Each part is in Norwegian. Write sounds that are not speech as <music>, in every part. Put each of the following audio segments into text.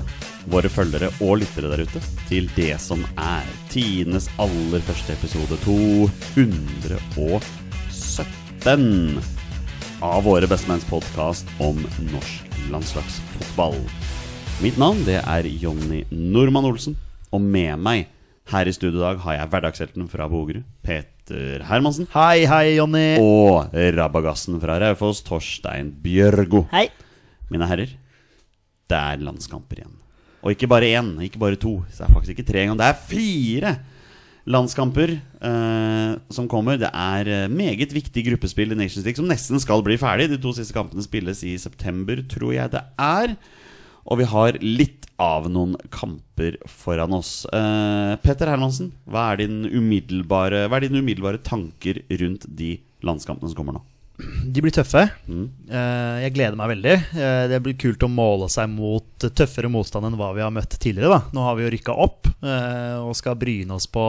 våre følgere og lyttere der ute til det som er tidenes aller første episode 217 av våre Bestemenns podkast om norsk landslagsfotball. Mitt navn det er Jonny Normann Olsen, og med meg her i studio i dag har jeg hverdagshelten fra Bogerud, Peter Hermansen. Hei, hei, Jonny. Og rabagassen fra Raufoss, Torstein Bjørgo. Hei. Mine herrer, det er landskamper igjen. Og ikke bare én, ikke bare to. Så det er faktisk ikke tre engang. Det er fire landskamper eh, som kommer. Det er eh, meget viktig gruppespill i Nations League som nesten skal bli ferdig. De to siste kampene spilles i september, tror jeg det er. Og vi har litt av noen kamper foran oss. Eh, Petter Hermansen, hva er, din umiddelbare, hva er dine umiddelbare tanker rundt de landskampene som kommer nå? De blir tøffe. Eh, Jeg gleder meg veldig. Eh, Det blir kult å måle seg mot tøffere motstand enn hva vi har møtt tidligere. Da. Nå har vi jo rykka opp eh, og skal bryne oss på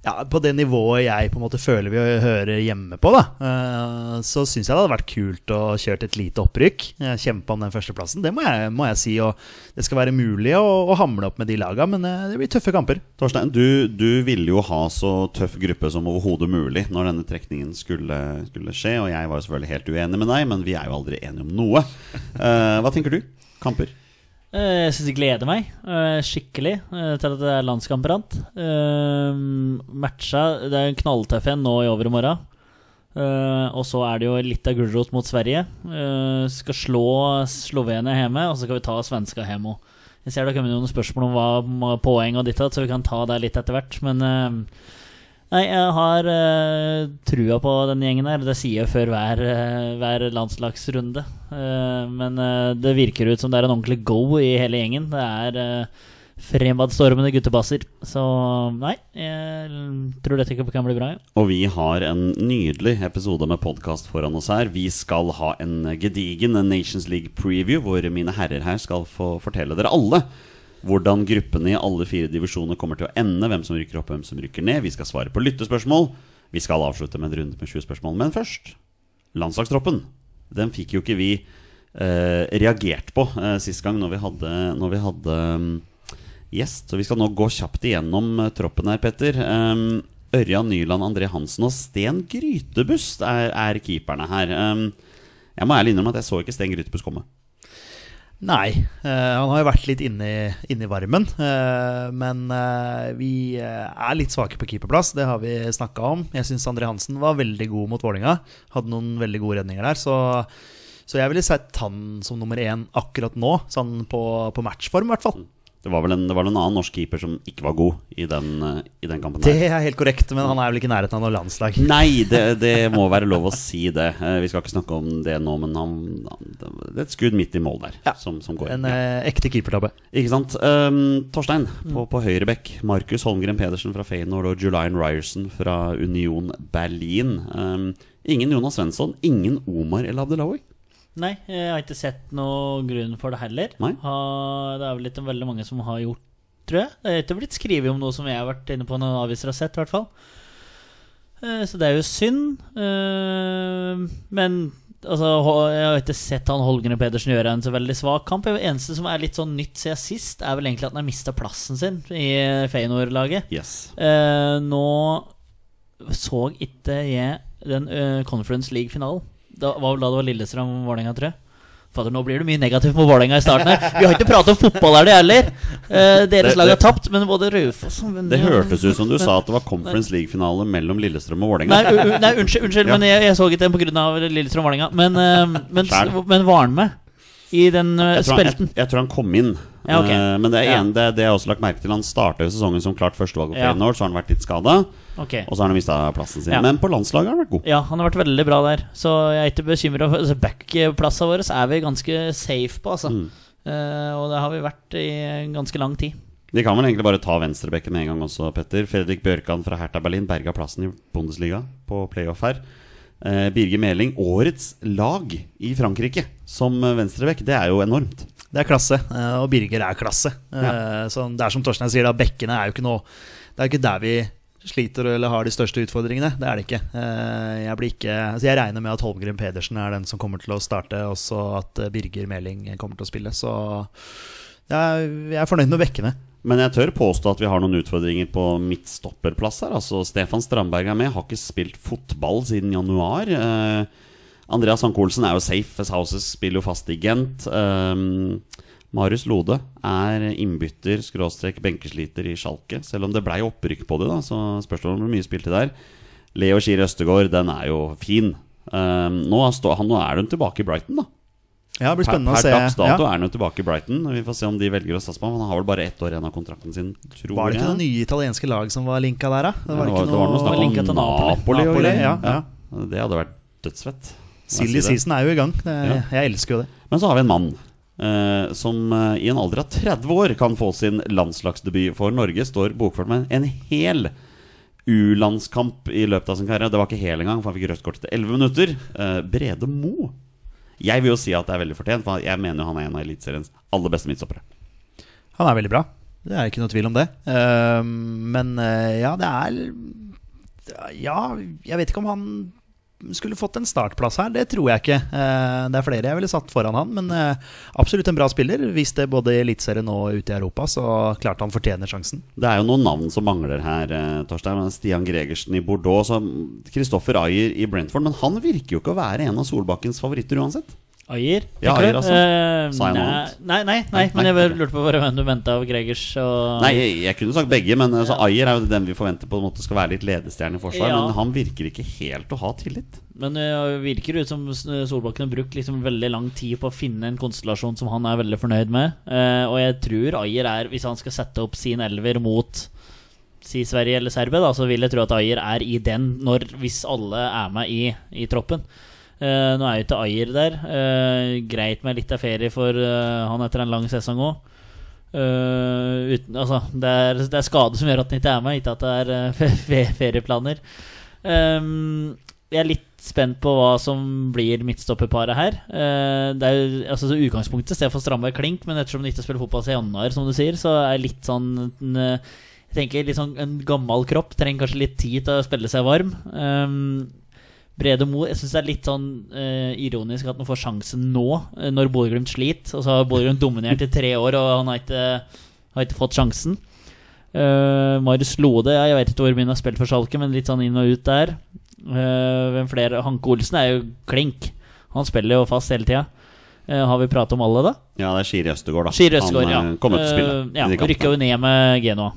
ja, på det nivået jeg på en måte føler vi hører hjemme på, da, Eh, så syns jeg det hadde vært kult å kjørt et lite opprykk. Eh, Kjempe om den førsteplassen. Det må jeg, må jeg si. Og det skal være mulig å, å hamle opp med de laga, men eh, det blir tøffe kamper. Torstein, du, du ville jo ha så tøff gruppe som overhodet mulig når denne trekningen skulle, skulle skje. Og jeg var jo selvfølgelig helt uenig med deg, men vi er jo aldri enige om noe. Eh, hva tenker du? Kamper? Eh, Jeg syns jeg gleder meg eh, skikkelig eh, til at det er landskamper igjen. Eh, Matcha Det er en knalltøff en nå i overmorgen. Eh, og så er det jo litt av gulrot mot Sverige. Eh, skal slå Slovenia hjemme, og så skal vi ta svenska hjemme òg. Jeg ser det har kommet noen spørsmål om hva om poeng og ditt og datt, så vi kan ta det litt etter hvert. Men eh, Nei, jeg har eh, trua på denne gjengen her. Det sier jeg før hver, eh, hver landslagsrunde. Eh, men eh, det virker ut som det er en ordentlig go i hele gjengen. Det er uh, fremadstormende guttebasser. Så nei, jeg tror dette kan bli bra. Ja. Og vi har en nydelig episode med podkast foran oss her. Vi skal ha en gedigen Nations League preview, hvor mine herrer her skal få fortelle dere alle hvordan gruppene i alle fire divisjoner kommer til å ende, hvem som rykker opp, hvem som rykker ned. Vi skal svare på lyttespørsmål. Vi skal avslutte med en runde med 20 spørsmål. Men først, landslagstroppen. Den fikk jo ikke vi eh, reagert på eh, sist gang når vi hadde, når vi hadde mm, gjest. Så vi skal nå gå kjapt igjennom eh, troppen her, Petter. Um, Ørjan Nyland, André Hansen og Sten Grytebust er, er keeperne her. Um, jeg må ærlig innrømme at jeg så ikke Sten Grytebust komme. Nei. eh, han har jo vært litt inne i- inne i varmen. eh, men eh, vi eh, er litt svake på keeperplass, det har vi snakka om. Jeg syns André Hansen var veldig god mot Vålinga Hadde noen veldig gode redninger der. Så, så jeg ville sett han som nummer én akkurat nå, sånn på, på matchform i hvert fall. Det var vel en, det var en annen norsk keeper som ikke var god i den, eh, i den kampen. her. Det er helt korrekt, men han er vel ikke i nærheten av noe landslag. Nei, det, det må være lov å si det. Eh, Vi skal ikke snakke om det nå, men han, han, det er et skudd midt i mål der Ja. som, som går. En Ja. eh, ekte keepertabbe. Ikke sant. Um, Torstein Mm. på, på høyrebekk. Markus Holmgren Pedersen fra Feyenoord og Julian Ryerson fra Union Berlin. Um, ingen Jonas Svensson, ingen Omar El Abdelawi. Nei, jeg har ikke sett noen grunn for det heller. Nei. Ha, det er vel ikke veldig mange som har gjort, tror jeg. Det er ikke blitt skrevet om noe som jeg har vært inne på noen aviser har sett, i hvert fall. Eh, Så det er jo synd. Eh, Men altså, Ho- jeg har ikke sett han Holgren Pedersen gjøre en så veldig svak kamp. Det eneste som er litt sånn nytt siden sist, er vel egentlig at han har mista plassen sin i Feyenoord-laget. Yes. Eh, nå så ikke jeg den eh, Conference League-finalen. Det var vel da det var Lillestrøm-Vålerenga, tror jeg. Fader, nå blir det mye negativt mot Vålerenga i starten her. Vi har ikke pratet om fotball her, det heller. Eh, Det- deres lag har det- tapt, men både Raufoss og Det hørtes ut som du sa at <laughs> det var Conference League-finale mellom Lillestrøm og Nei, Vålerenga. u- u- nei, unnskyld, unnskyld Ja. men jeg, jeg så ikke den pga. Lillestrøm-Vålerenga. Men, eh, men, Skjær. men, men var han med? i den eh, Jeg tror, han, jeg, spelten. jeg tror han kom inn. Ja, ok. Eh, Men det er Ja. en, det, det har jeg også lagt merke til. Han starta jo sesongen som klart førstevalg for Ja. Feyenoord, så har han vært litt skada. Ok. Og så har han mista plassen sin. Ja. Men på landslaget har han vært god. Ja, han har vært veldig bra der. Så jeg er ikke bekymra. Altså, Backplassene våre er vi ganske safe på, altså. Mm. Eh, og det har vi vært i ganske lang tid. De kan vel egentlig bare ta venstrebekken med en gang også, Petter. Fredrik Bjørkan fra Hertha Berlin berga plassen i Bundesliga på playoff her. Eh, Birger Meling, årets lag i Frankrike som venstrebekk, det er jo enormt. Det er klasse, eh, og Birger er klasse. Eh, Så det er som Torstein sier, da, bekkene er jo ikke noe Det er jo ikke der vi sliter eller har de største utfordringene. Det er det ikke. Eh, Jeg, blir ikke altså jeg regner med at Holmgren Pedersen er den som kommer til å starte, også at eh, Birger Meling kommer til å spille. Så jeg er, jeg er fornøyd med bekkene. Men jeg tør påstå at vi har noen utfordringer på midtstopperplass her. Altså, Stefan Strandberg er med, har ikke spilt fotball siden januar. Eh, Andreas Hanke Olsen er jo safe, Fess Houses spiller jo fast i Gent. Eh, Marius Lode er innbytter, skråstrek, benkesliter i Schalke. Selv om det blei opprykk på det, da, så spørs det om hvor mye spilte der. Leo Skier Østegård, den er jo fin. Eh, nå, står, han, nå er de tilbake i Brighton, da. Ja, det blir Per, spennende per å dags se. dato Ja. er han jo tilbake i Brighton. og Vi får se om de velger å satse på ham. Han har vel bare ett år igjen av kontrakten sin, tror Var det ikke jeg. noen nye italienske lag som var linka der, da? Det Det var, det var noe var linka snakk til om Napoli. Napoli. og Napoli, greier. ja, ja. Det hadde vært dødsfett. Silly Jeg sier det. season er jo i gang. Det- Ja. Jeg elsker jo det. Men så har vi en mann eh, som eh, i en alder av 30 år kan få sin landslagsdebut for Norge. Står bokført med en hel U-landskamp i løpet av sin karriere. Det var ikke hel engang, for han fikk rødt kort etter 11 minutter. Eh, Brede Mo. Jeg vil jo si at det er veldig fortjent, for jeg mener jo han er en av eliteseriens aller beste midtstoppere. Han er veldig bra. Det er ikke noe tvil om det. Ehm, men eh, ja, det er Ja, jeg vet ikke om han skulle fått en startplass her. Det tror jeg ikke. Eh, det er flere jeg ville satt foran han, men eh, absolutt en bra spiller. Hvis det både i Eliteserien og ute i Europa, så klart han fortjener sjansen. Det er jo noen navn som mangler her, eh, Torstein. men Stian Gregersen i Bordeaux. så Kristoffer Ayer i Brentford. Men han virker jo ikke å være en av Solbakkens favoritter uansett. Ayer? Ja, tenker du? Ayer, altså. Eh, Sa jeg noe nei, annet? nei, nei, nei, Nei, men jeg bare ok. lurte på bare hvem du mente av Gregers og Nei, jeg, jeg kunne sagt begge, men altså, Ayer er jo den vi forventer på en måte skal være litt ledestjerne i forsvar. Ja. Men han virker ikke helt å ha tillit. Men det virker ut som eh, Solbakken har brukt liksom veldig lang tid på å finne en konstellasjon som han er veldig fornøyd med. Eh, og jeg tror Ayer er, hvis han skal sette opp sin elver mot si Sverige eller Serbia, da, så vil jeg tro at Ayer er i den når, hvis alle er med i, i troppen. Eh, nå er jo ikke Ayer der. Eh, greit med litt av ferie for eh, han etter en lang sesong òg. altså, det, er, det er skade som gjør at han ikke er med, ikke at det er eh, fe- fe- ferieplaner. Ehm, jeg er litt spent på hva som blir midtstopperparet her. Eh, det er jo- altså, så Utgangspunktet ser for Strandberg klink, men ettersom han ikke spiller fotball siden januar, som du sier, så er jeg litt sånn en, eh, Jeg tenker litt sånn En gammel kropp trenger kanskje litt tid til å spille seg varm. Um, Brede Mo, jeg syns det er litt sånn eh, ironisk at han får sjansen nå, eh, når Bodø-Glimt sliter. Og så har Bodø-Glimt dominert i tre år, og han har ikke, har ikke fått sjansen. Eh, Marius Lode, ja, jeg vet ikke hvor mye han har spilt for Schalke, men litt sånn inn og ut der. Eh, hvem flere? Hanke Olsen er jo klink. Han spiller jo fast hele tida. Eh, har vi pratet om alle, da? Ja, det er Skiri Østegård, da. Skiri Østgaard, han ja. eh, kommer til å spille. Eh, ja, i de kampene. Rykka jo ned med Genoa.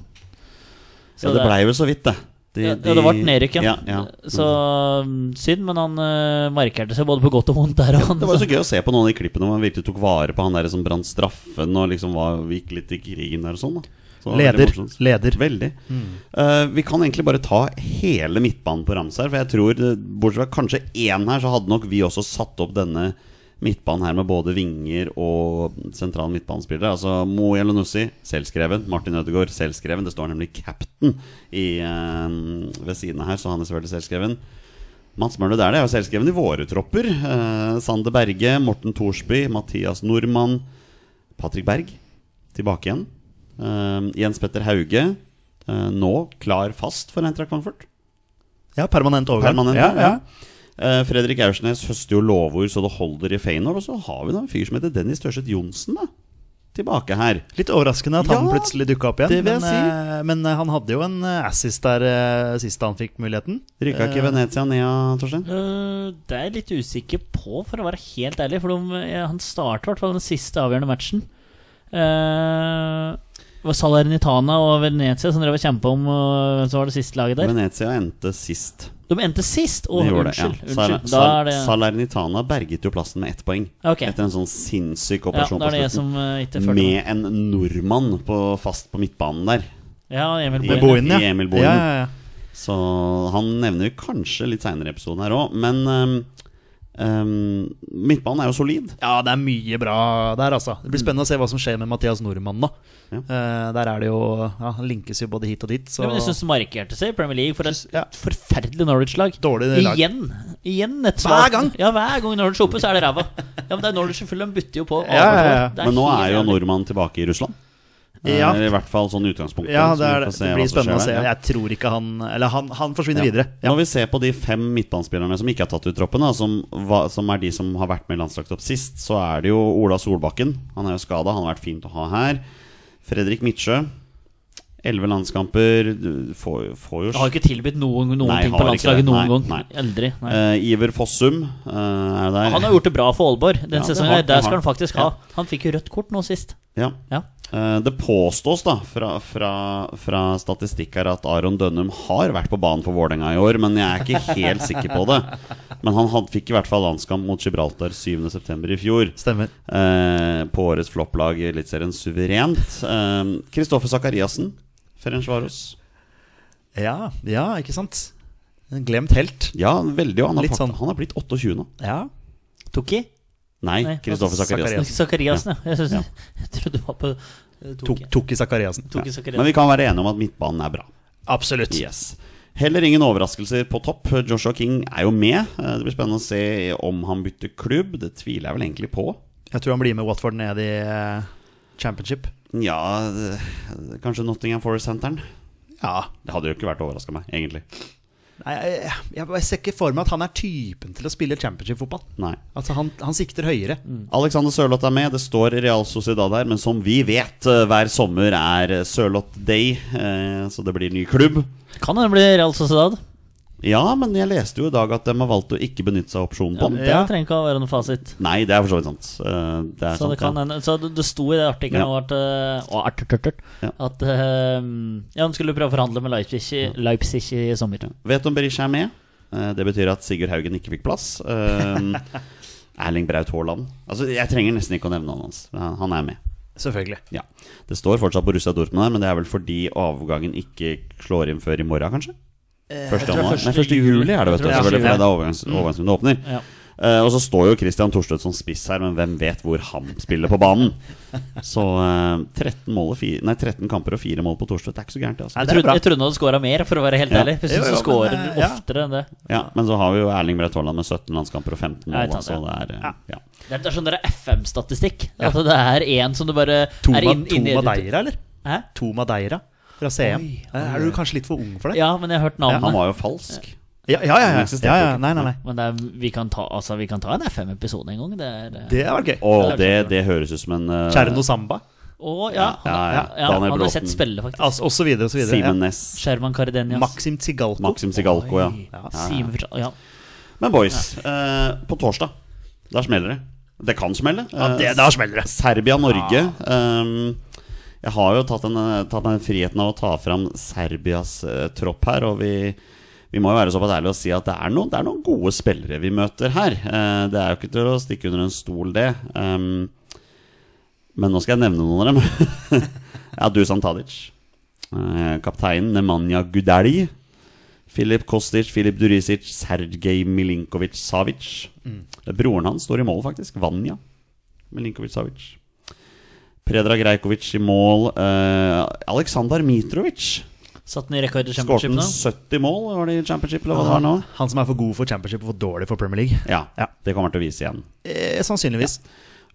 Så ja, det blei vel så vidt, det. De- ja, de- det ble nedrykk, ja. ja, ja. Så mm, synd, men han eh, markerte seg både på godt og vondt der. Og Det var jo så gøy å se på noen av de klippene hvor man virkelig tok vare på han der som brant straffen og liksom var, gikk litt i krigen der og sånn. da så det var Leder. veldig morsomt. Leder. Veldig. Eh, vi kan egentlig bare ta hele midtbanen på ramse her, for jeg tror eh, bortsett fra kanskje én her, så hadde nok vi også satt opp denne midtbanen her med både vinger og sentrale midtbanespillere. Altså Mo Jelonussi, selvskreven. Martin Ødegaard, selvskreven. Det står nemlig 'Captain' i, eh, ved siden av her, så han er selvfølgelig selvskreven. Mats Møller der, det er jo selvskreven i våre tropper. Eh, Sander Berge, Morten Thorsby, Mathias Nordmann, Patrick Berg tilbake igjen. Eh, Jens Petter Hauge, eh, nå klar fast for Eintracht Frankfurt. Ja, permanent overgang. Permanent. ja, der, ja. Eh, Fredrik Aursnes høster jo lovord så det holder i Feyenoord. Og så har vi da en fyr som heter Dennis Tørseth Johnsen, da. Tilbake her. Litt overraskende at han Ja, plutselig dukka opp igjen. det vil jeg men, eh, men eh, han hadde jo en eh, assist der eh, sist han fikk muligheten. Rykka ikke Venezia ned, ja, Torstein? Eh, det er jeg litt usikker på, for å være helt ærlig. For de, ja, han starter i hvert fall den siste avgjørende matchen. Eh, det var Salernitana og Venezia som drev og kjempa om eh, hvem som var det siste laget der. Venezia endte sist. De endte sist! Å, De gjorde det, ja. unnskyld. Sal- unnskyld. Da Sal- er det Salernitana berget jo plassen med ett poeng. Ok. Etter en sånn sinnssyk Ja, operasjon da er det på jeg som slutten. eh, ikke følger med. Med en nordmann på, fast på midtbanen der. Ja, Emil Med Boine. Boine. I Emil Boine. Ja, ja, ja. Så han nevner vi kanskje litt seinere i episoden her òg. Men ehm, ehm, midtbanen er jo solid. Ja, det er mye bra der, altså. Det blir spennende å se hva som skjer med Mathias Nordmann nå. Mm. Ja. Eh, der er det jo ja, Han linkes jo både hit og dit, så Ja, men jeg syns det markerte seg i Premier League for et Ja. forferdelig Norwich-lag. Dårlig lag. Igjen! Igjen et Hver svakt- gang. Ja, hver gang Norwich er oppe, så er det ræva. Ja, men det er Norwich selvfølgelig, de butter jo på. Ja, ja, ja. Det Men nå helt er jo jævlig. nordmannen tilbake i Russland. Ja. Eller i hvert fall sånn utgangspunkt. ja, så det, vi er, får det se Det hva blir som skjer spennende der. å se. Ja. Jeg tror ikke han Eller han, han forsvinner Ja. videre. Ja. Når vi ser på de fem midtbanespillerne som ikke er tatt ut troppen, da, som, va- som er de som har vært med i landslagstopp sist, så er det jo Ola Solbakken. Han er jo skada, han har vært fint å ha her. Fredrik Midtsjø. Elleve landskamper. Du Får, får jo Jeg har ikke tilbudt noen, noen Nei, ting har ikke på det. landslaget noen gang. Nei, Aldri. Nei. Eh, Iver Fossum eh, er jo der. Han har gjort det bra for Aalborg den Ja, det sesongen. har- her. det Der har skal han han. faktisk ha. Han fikk jo rødt kort nå sist. ja. Ja. Eh, Det påstås da fra, fra, fra statistikk her at Aron Dønnum har vært på banen for Vålerenga i år, men jeg er ikke helt sikker på det. Men han had, fikk i hvert fall landskamp mot Gibraltar 7.9. i fjor. Stemmer. Eh, på årets flopplag i Eliteserien suverent. Eh, Kristoffer Sakariassen, Ferencvaros. Ja, ja, ikke sant? En glemt helt. Ja, veldig. Og han har, Litt fakt- sånn. han har blitt 28 nå. Ja. Toki? Nei, Nei, Kristoffer altså, Sakariassen. Sakariassen, ja. Jeg, synes, <laughs> jeg trodde det var på eh, Toki. Tok i Sakariassen. Toki Men Sakariassen. vi kan være enige om at midtbanen er bra. Absolutt. Yes. Heller ingen overraskelser på topp. Joshua King er jo med. Eh, Det blir spennende å se om han bytter klubb. Det tviler jeg vel egentlig på. Jeg tror han blir med Watford ned i eh, championship. Ja, det- kanskje Nottingham Forest-senteren. Ja. Det hadde jo ikke vært overraska meg, egentlig. Nei, jeg, jeg, jeg ser ikke for meg at han er typen til å spille championship-fotball. Nei. Altså, han, han sikter høyere. Mm. Alexander Sørloth er med. Det står Real Sociedad her, men som vi vet, eh, hver sommer er eh, Sørloth Day, eh, så det blir ny klubb. Kan hende det blir Real Sociedad. Ja, men jeg leste jo i dag at de har valgt å ikke benytte seg av opsjonen på den. Det Ja. trenger ikke å være noe fasit. Nei, det er for så vidt sant. Eh, Det er Så det, sant, kan ja. hende. Så det, det sto i det artikkelen Ja. nå at, eh, å, art, art, art, Ja. at eh, ja, han skulle prøve å forhandle med Leipzig, i- Leipzig i sommer. Vet om Berisha er med. Eh, Det betyr at Sigurd Haugen ikke fikk plass. <laughs> Eh, Erling Braut Haaland. Altså, jeg trenger nesten ikke å nevne navnet hans. men Han er med. Selvfølgelig. Ja. Det står fortsatt på Russia Dortmund her, men det er vel fordi avgangen ikke slår inn før i morgen, kanskje? Eh, Første tror det er januar. første Nei, første juli. juli er det, vet du. Jeg tror det er Selvfølgelig, første for det er da overgangs- overgangsvinduet åpner. Ja. Eh, og så står jo Christian Thorstvedt som spiss her, men hvem vet hvor han spiller på banen? <laughs> Så eh, 13, mål og fire, nei, 13 kamper og 4 mål på Thorstvedt, det er ikke så gærent, det. Jeg Altså. det er trodde, bra. jeg trodde han hadde scora mer, for å være helt Ja. ærlig. For Jo, jeg syns jo, han scorer men, eh, ja. oftere enn det. Ja, men så har vi jo Erling Braut Haaland med 17 landskamper og 15 Nei, mål, sant, altså. Det er, eh, ja. Det er- det er sånn der FM-statistikk. At det er én som du bare To, er ma inn- to inni- Madeira, eller? Hæ? To Madeira fra CM. Er du kanskje litt for ung for det? Ja, men jeg har hørt Han navnet. var jo falsk. ja, ja. ja, Den ja. eksisterte ja, jo ja. ikke. Nei, nei, nei. Men det er, vi, kan ta, altså, vi kan ta en FM-episode en gang. Det er eh, Det var gøy. Og det, det høres ut som en eh, Cherno Samba. Å, ja. Ja, ja, Han, ja, ja. Daniel han har Bråten. sett spille, faktisk. Altså, og så videre og så videre. Simen Ja. Næss, Sherman Cardenias. Maxim Tsigalko. Maxim Sigalko, ja. Ja. Simen Fritz- ja. Men boys, eh, på torsdag, der smeller det. Det kan smelle. Ja, det, da smeller det. Serbia-Norge. ehm, jeg har jo tatt, en, eh, tatt meg friheten av å ta fram Serbias eh, tropp her, og vi, vi må jo være såpass ærlige og si at det er, noen, det er noen gode spillere vi møter her. Eh, det er jo ikke til å stikke under en stol, det. Ehm, men nå skal jeg nevne noen av dem. <laughs> ja, Dusan Tadic. Eh, kapteinen Nemanja Gudeli. Filip Kostic, Filip Durisic, Sergej Milinkovic-Savic. Broren hans står i mål, faktisk. Vanja. Milinkovic-Savic. Predrag Rajkovic i mål. Eh, Aleksandar Mitrovic Satt den i rekord i skåret championship nå. 70 mål, var det i championship? Eller hva det var nå? Han som er for god for championship og for dårlig for Premier League. Ja, Ja. det kommer han til å vise igjen. Eh, sannsynligvis.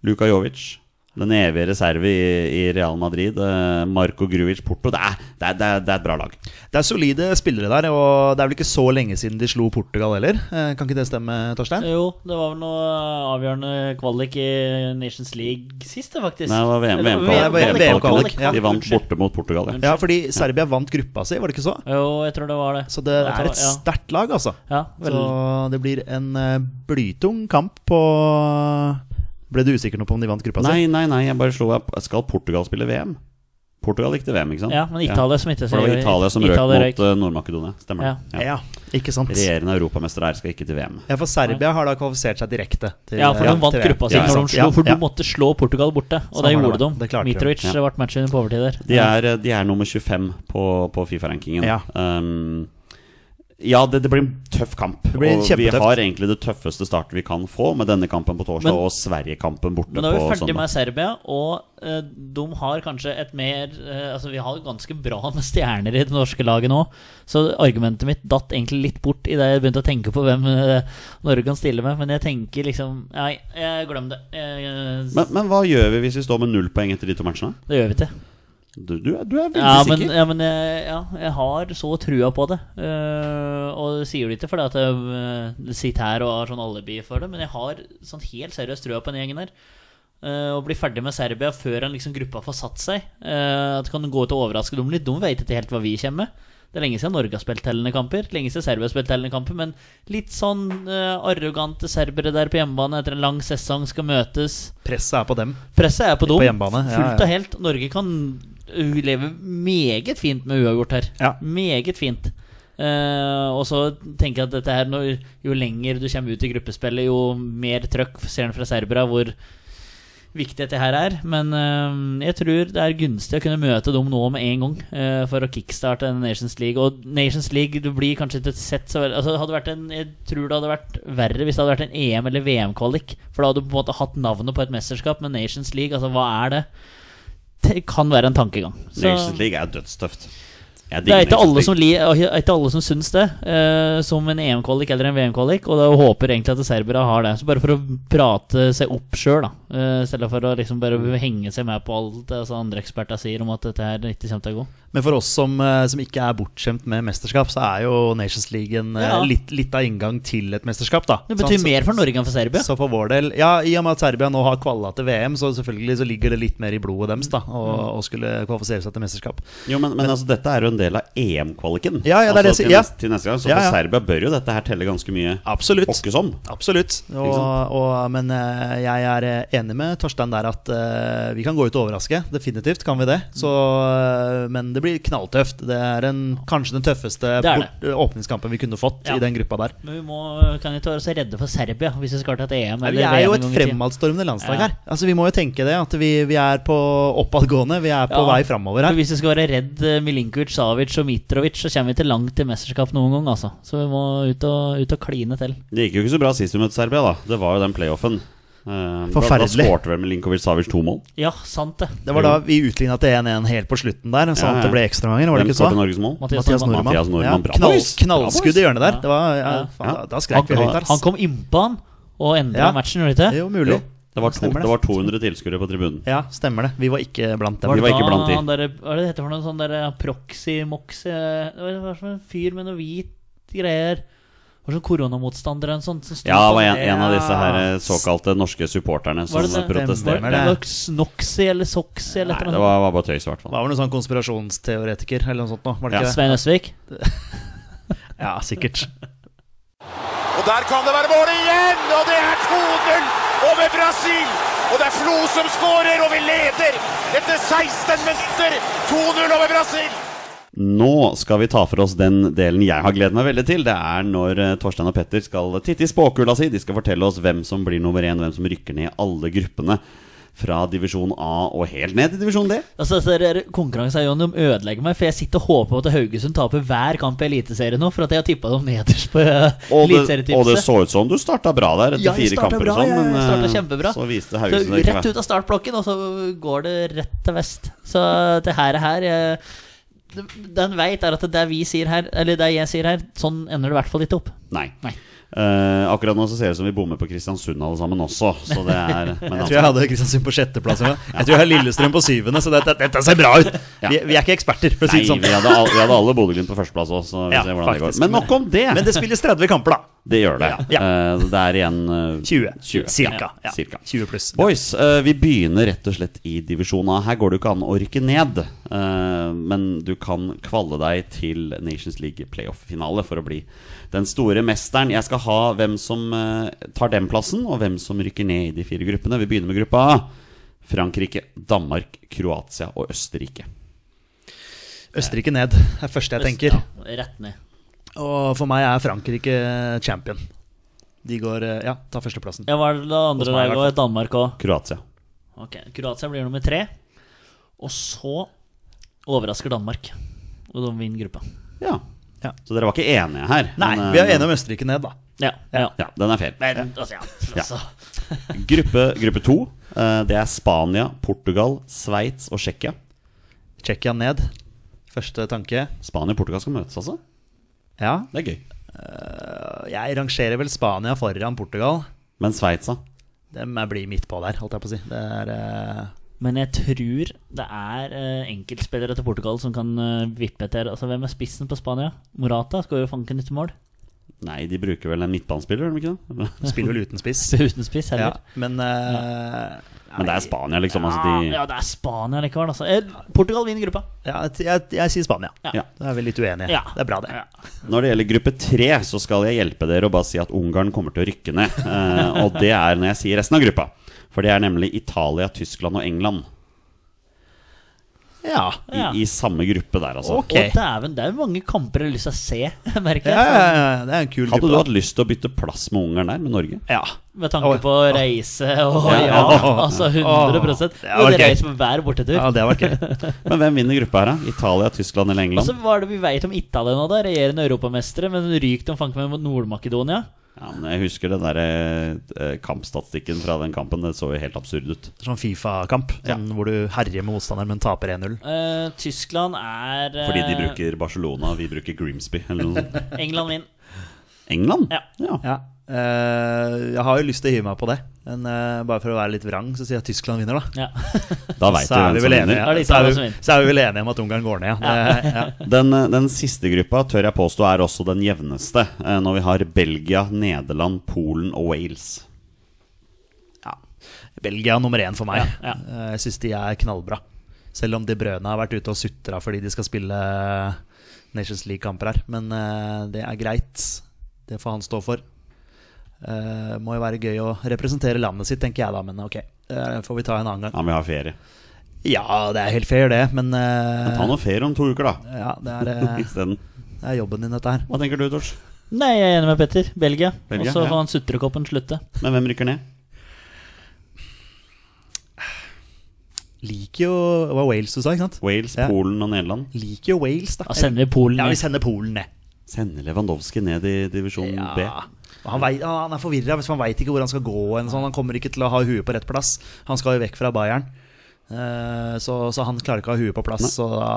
Luka Jovic. Den evige reserve i, i Real Madrid. Eh, Marco Gruvic Porto. Det er, det, er, det, er, det er et bra lag. Det er solide spillere der, og det er vel ikke så lenge siden de slo Portugal heller. Eh, Kan ikke det stemme, Torstein? Jo, det var vel noe eh, avgjørende kvalik i Nations League sist, det, faktisk. Nei, det var VM- Eller, VM-kvalik. VM- VM-kvalik, ja. De vant Unnskyld. borte mot Portugal. Ja. Ja, fordi Serbia vant gruppa si, var det ikke så? Jo, jeg tror det var det. Så det Ja, er et ja. sterkt lag, altså. Ja, vel. Så det blir en eh, blytung kamp på eh, Ble du usikker nå på om de vant gruppa si? Nei, nei, nei, jeg bare slo opp. Skal Portugal spille VM? Portugal gikk til VM, ikke sant? Ja, men Italia Ja. smittet For det seg var jo- Italia som Italia røk mot eh, Nord-Makedonia. Stemmer det. Ja. Ja, ikke sant. Regjerende europamester her skal ikke til VM. Ja, for Serbia har da kvalifisert seg direkte. Til, eh, Ja, for de til vant VM. gruppa si Ja, når de ja, slo, for du ja. måtte slå Portugal borte, Sånn og det var det, gjorde de. det klarte de. Mitrovic Ja. eh, ble matchvinner på overtid der. De er, eh, de er nummer 25 på, på Fifa-rankingen. Ja. Um, ja, det, det blir en tøff kamp. blir og vi kjempetøft. har egentlig det tøffeste startet vi kan få med denne kampen på torsdag Men- og Sverige-kampen borte Men nå er vi på ferdig søndag. med Serbia, og eh, de har kanskje et mer eh, Altså, vi har ganske bra med stjerner i det norske laget nå, så argumentet mitt datt egentlig litt bort idet jeg begynte å tenke på hvem eh, Norge kan stille med, men jeg tenker liksom Nei, jeg glem det. Jeg, eh, Men, men hva gjør vi hvis vi står med null poeng etter de to matchene? det gjør vi ikke. Du, du, er, du er veldig Ja, men, sikker. ja, men jeg, ja, jeg har så trua på det. Eh, og det sier det ikke fordi at jeg eh, sitter her og har sånn alibi for det, men jeg har sånn helt seriøst trua på den gjengen der. Eh, å bli ferdig med Serbia før en liksom gruppa får satt seg. eh, at det kan gå ut og overraske dem litt. De vet ikke helt hva vi kommer med. Det er lenge siden Norge har spilt tellende kamper. Lenge siden Serbia har spilt tellende kamper Men litt sånn eh, arrogante serbere der på hjemmebane etter en lang sesong skal møtes. Presset er på dem. Presset er på dem. På hjemmebane, ja, Fullt ja. og helt. Norge kan uh, leve meget fint med uavgjort her. Ja. Meget fint. Eh, og så tenker jeg at dette her når, jo lenger du kommer ut i gruppespillet, jo mer trøkk ser en fra serbere hvor viktig dette her er. Men eh, jeg tror det er gunstig å kunne møte dem nå med en gang eh, for å kickstarte en Nations League. Og Nations League du blir kanskje ikke sett så veldig altså, det hadde vært en, Jeg tror det hadde vært verre hvis det hadde vært en EM- eller VM-kvalik. For da hadde du på en måte hatt navnet på et mesterskap, men Nations League, altså hva er det? Det kan være en tankegang. Så- Nations League er dødstøft. Jeg det digger er ikke Nations alle League. som, li, eh, ikke alle som syns det, eh, som en EM-kvalik eller en VM-kvalik. Og da håper egentlig at serbere har det. Så bare for å prate seg opp sjøl, da. eh, I stedet for å liksom bare henge seg med på alt det altså andre eksperter sier om at dette her ikke kommer til å gå. Men for oss som, eh, som ikke er bortskjemt med mesterskap, så er jo Nations League en, eh, Ja. litt, litt av inngang til et mesterskap, da. Det betyr Sånn, så- mer for Norge enn for Serbia. Så for vår del, ja, I og med at Serbia nå har kvalla til VM, så selvfølgelig så ligger det litt mer i blodet deres da, Mm. å, å skulle kvalifisere seg til mesterskap. Jo, men, men, altså, dette er jo en del av EM-kvaliken. Ja, ja, det er det altså, jeg sier, til, ja. neste, til neste gang. Så Ja, ja. for Serbia bør jo dette her telle ganske mye. Absolutt. Åkkesom. Absolutt. Og, sant? og, men eh, jeg er eh, enig med Torstein der at eh, vi kan gå ut og overraske. Definitivt kan vi det. Så, eh, men det blir knalltøft. Det er en, kanskje den tøffeste Det er bort, eh, åpningskampen vi kunne fått Ja. i den gruppa der. Men vi må, kan ikke være så redde for Serbia hvis vi skal til et EM Nei, eller vi er jo et VM en gang i tiden. fremadstormende landslag Ja. her. Altså, vi må jo tenke det, at vi, vi er på oppadgående. Vi er på Ja. vei framover For her. Hvis vi skal være redd eh, Milinkovic, Savic og Mitrovic, så kommer vi ikke langt til mesterskap noen gang, altså. Så vi må ut og, ut og kline til. Det gikk jo ikke så bra sist vi møtte Serbia, da. Det var jo den playoffen. Eh, Da, da Forferdelig. skårte vel Milinkovic Savic to mål. Ja, sant det. Det var da vi utligna til 1-1 helt på slutten der, så Ja, ja. at det ble ekstraganger, var det Hvem ikke så? skårte Norges mål? Mathias Mathias Nordmann. Nordmann. Mathias Nordmann, bra ja. Knall, boys. Bra knallskudd i boys. hjørnet der. Det var, ja, Ja. faen, da- Da Han, skrek vi høyt han, der. han kom innpå han og endra Ja. matchen, gjorde han Det er jo ikke? mulig. Jo, det var, to, Stemmer det. det var 200 tilskuere på tribunen. Ja, stemmer det. Vi var ikke blant dem. Vi var ikke Da blant de. han der, Hva er det det heter for noe sånn der proxy-moxy eh, Det var- det var som en fyr med noe hvit greier. Det var sånn koronamotstander eller noe sånt. som sto Ja, det var på- en, en av disse her eh, såkalte norske supporterne som Var det det? protesterte. Stemmer Var Nei, det noe Snoxy eller Soxy eller et det eller var, var bare tøys, i hvert Det fall. var vel noen sånn konspirasjonsteoretiker eller noe sånt nå, var det Ja. ikke det? Svein Østvik? Ja, sikkert. Og der kan det være mål igjen! Og det er 2-0 over Brasil! Og det er Flo som skårer, og vi leder etter 16 minutter! 2-0 over Brasil! Nå skal vi ta for oss den delen jeg har gledet meg veldig til. Det er når eh, Torstein og Petter skal titte i spåkula si. De skal fortelle oss hvem som blir nummer én, hvem som rykker ned i alle gruppene. Fra divisjon A og helt ned til divisjon D. Altså, så der, konkurransen Jon, de ødelegger meg, for jeg sitter og håper på at Haugesund taper hver kamp i Eliteserien nå, for at jeg har tippa dem nederst på eh, Og det, og det eliteserietipset. så ut som du starta bra der etter Ja, jeg fire starta kamper, bra, og sånn, jeg- jeg men eh, starta kjempebra. så viste Så Haugesund det ikke rett vært. ut av startblokken, og så går det rett til vest. Så det her er her eh, det- Den veit er at det vi sier her, eller det jeg sier her, sånn ender det i hvert fall ikke opp. Nei. Nei. Eh, akkurat nå så ser det ut som vi bommer på Kristiansund alle sammen også, så det er men altså, Jeg tror jeg hadde Kristiansund på sjetteplass. Jeg jeg tror jeg har Lillestrøm på syvende, så dette, dette ser bra ut! Ja. Vi, vi er ikke eksperter, for å Nei, si det vi sånn. hadde, all, vi hadde alle Bodø-Glimt på førsteplass òg, så vi Ja, ser hvordan det faktisk. går. Men nok om det! Men det spilles 30 kamper, da. Det gjør det. Ja. Eh, det er igjen eh, 20. 20, Cirka. Ja, Ja. cirka. 20 pluss. Boys, eh, vi begynner rett og slett i divisjon A. Her går det jo ikke an å rykke ned. eh, men du kan kvalle deg til Nations League playoff-finale for å bli den store mesteren. Jeg skal ha hvem som eh, tar den plassen, og hvem som rykker ned i de fire gruppene. Vi begynner med gruppa A. Frankrike, Danmark, Kroatia og Østerrike. Østerrike ned er det første jeg tenker. Ja, rett ned. Og for meg er Frankrike champion. De går eh, Ja, tar førsteplassen. Ja, Hva er det andre Hos meg i laget hvert og Danmark òg? Kroatia. Ok, Kroatia blir nummer tre. Og så overrasker Danmark, og de vinner gruppa. Ja. Ja. Så dere var ikke enige her? Nei, men, eh, vi er enige om Østerrike ned, da. Ja, ja. Ja, den er fair. Men altså, ja. Altså. Gruppe, gruppe to, eh, det er Spania, Portugal, Sveits og Tsjekkia. Tsjekkia ned. Første tanke. Spania og Portugal skal møtes, altså? Ja. Det er gøy. Jeg rangerer vel Spania foran Portugal. Men Sveits, da? Dem er- blir midt på der, holdt jeg på å si. Det er eh, Men jeg tror det er eh, enkeltspillere til Portugal som kan eh, vippe etter. Altså, Hvem er spissen på Spania? Morata skal jo fanke nytt mål. <laughs> Nei, de bruker vel en midtbanespiller, gjør de ikke det? Spiller vel uten spiss. <laughs> Uten spiss, Ja, heller. men eh, Men det er Spania, liksom. Altså, Ja, de, ja, det er Spania likevel, altså. Eh, Portugal vinner gruppa. ja, jeg, jeg, jeg sier Spania. Ja. Ja. Da er vi litt uenige. Ja. Det er bra, det. Ja. Når det gjelder gruppe tre, så skal jeg hjelpe dere og bare si at Ungarn kommer til å rykke ned. Eh, og det er når jeg sier resten av gruppa. For det er nemlig Italia, Tyskland og England Ja. i, Ja. i samme gruppe der, altså. Ok. Å, dæven, det er jo mange kamper jeg har lyst til å se, <laughs> merker Ja, jeg. ja, ja, det er en kul Hadde du gruppe. hatt lyst til å bytte plass med Ungarn der, med Norge? Ja. Med tanke på reise og ja, Åh, altså åh. 100 Det var Og det gøy. reiser på hver bortetur. ja, det var gøy. Men hvem vinner gruppa her, da? Italia, Tyskland eller Og England? så var det vi vet om Italia nå, da. Regjerende europamestere, men ryk de fanken med mot Nord-Makedonia. Ja, men jeg husker den der eh, kampstatistikken fra den kampen. Det så jo helt absurd ut. Sånn Fifa-kamp, sånn hvor du herjer med motstanderen, men taper 1-0. Eh, Tyskland er eh, Fordi de bruker Barcelona, vi bruker Grimsby eller noe sånt. England vinner. England? Ja. Ja. eh, jeg har jo lyst til å hive meg på det, men eh, bare for å være litt vrang, så sier jeg Tyskland vinner, da. Ja. Da veit du Så er, hvem vi som vel enige, vinner. Da er det så, Italia er som vi, vinner. så er vi vel enige om at Ungarn går ned, ja. Det, <laughs> ja. Den, eh, den siste gruppa tør jeg påstå er også den jevneste, eh, når vi har Belgia, Nederland, Polen og Wales. ja. Belgia er nummer én for meg. Ja, ja. Eh, Jeg syns de er knallbra. Selv om De Brøne har vært ute og sutra fordi de skal spille Nations League-kamper her. Men eh, det er greit. Det får han stå for. Eh, må jo være gøy å representere landet sitt, tenker jeg da, men ok. Det får vi ta en annen gang. Ja, men vi har ferie. Ja, det er helt fair, det, men eh, Ta noe ferie om to uker, da. ja, det, er, <laughs> eh, Isteden. det er jobben din, dette her. Hva tenker du, Tors? Nei, jeg er enig med Petter. Belgia. Belgia, Og så ja. får han sutrekoppen slutte. Men hvem rykker ned? Liker jo Det var Wales du sa, ikke sant? Wales, Ja. Polen og Nederland? Liker jo Wales, da. Da sender vi Polen Ja, vi ned. sender Polen ned. Sender Lewandowski ned i divisjon B? Ja. Og Han, vei- han er forvirra, han veit ikke hvor han skal gå. eller Sånn. Han kommer ikke til å ha huet på rett plass. Han skal jo vekk fra Bayern. Eh, Så, så han klarer ikke å ha huet på plass, så da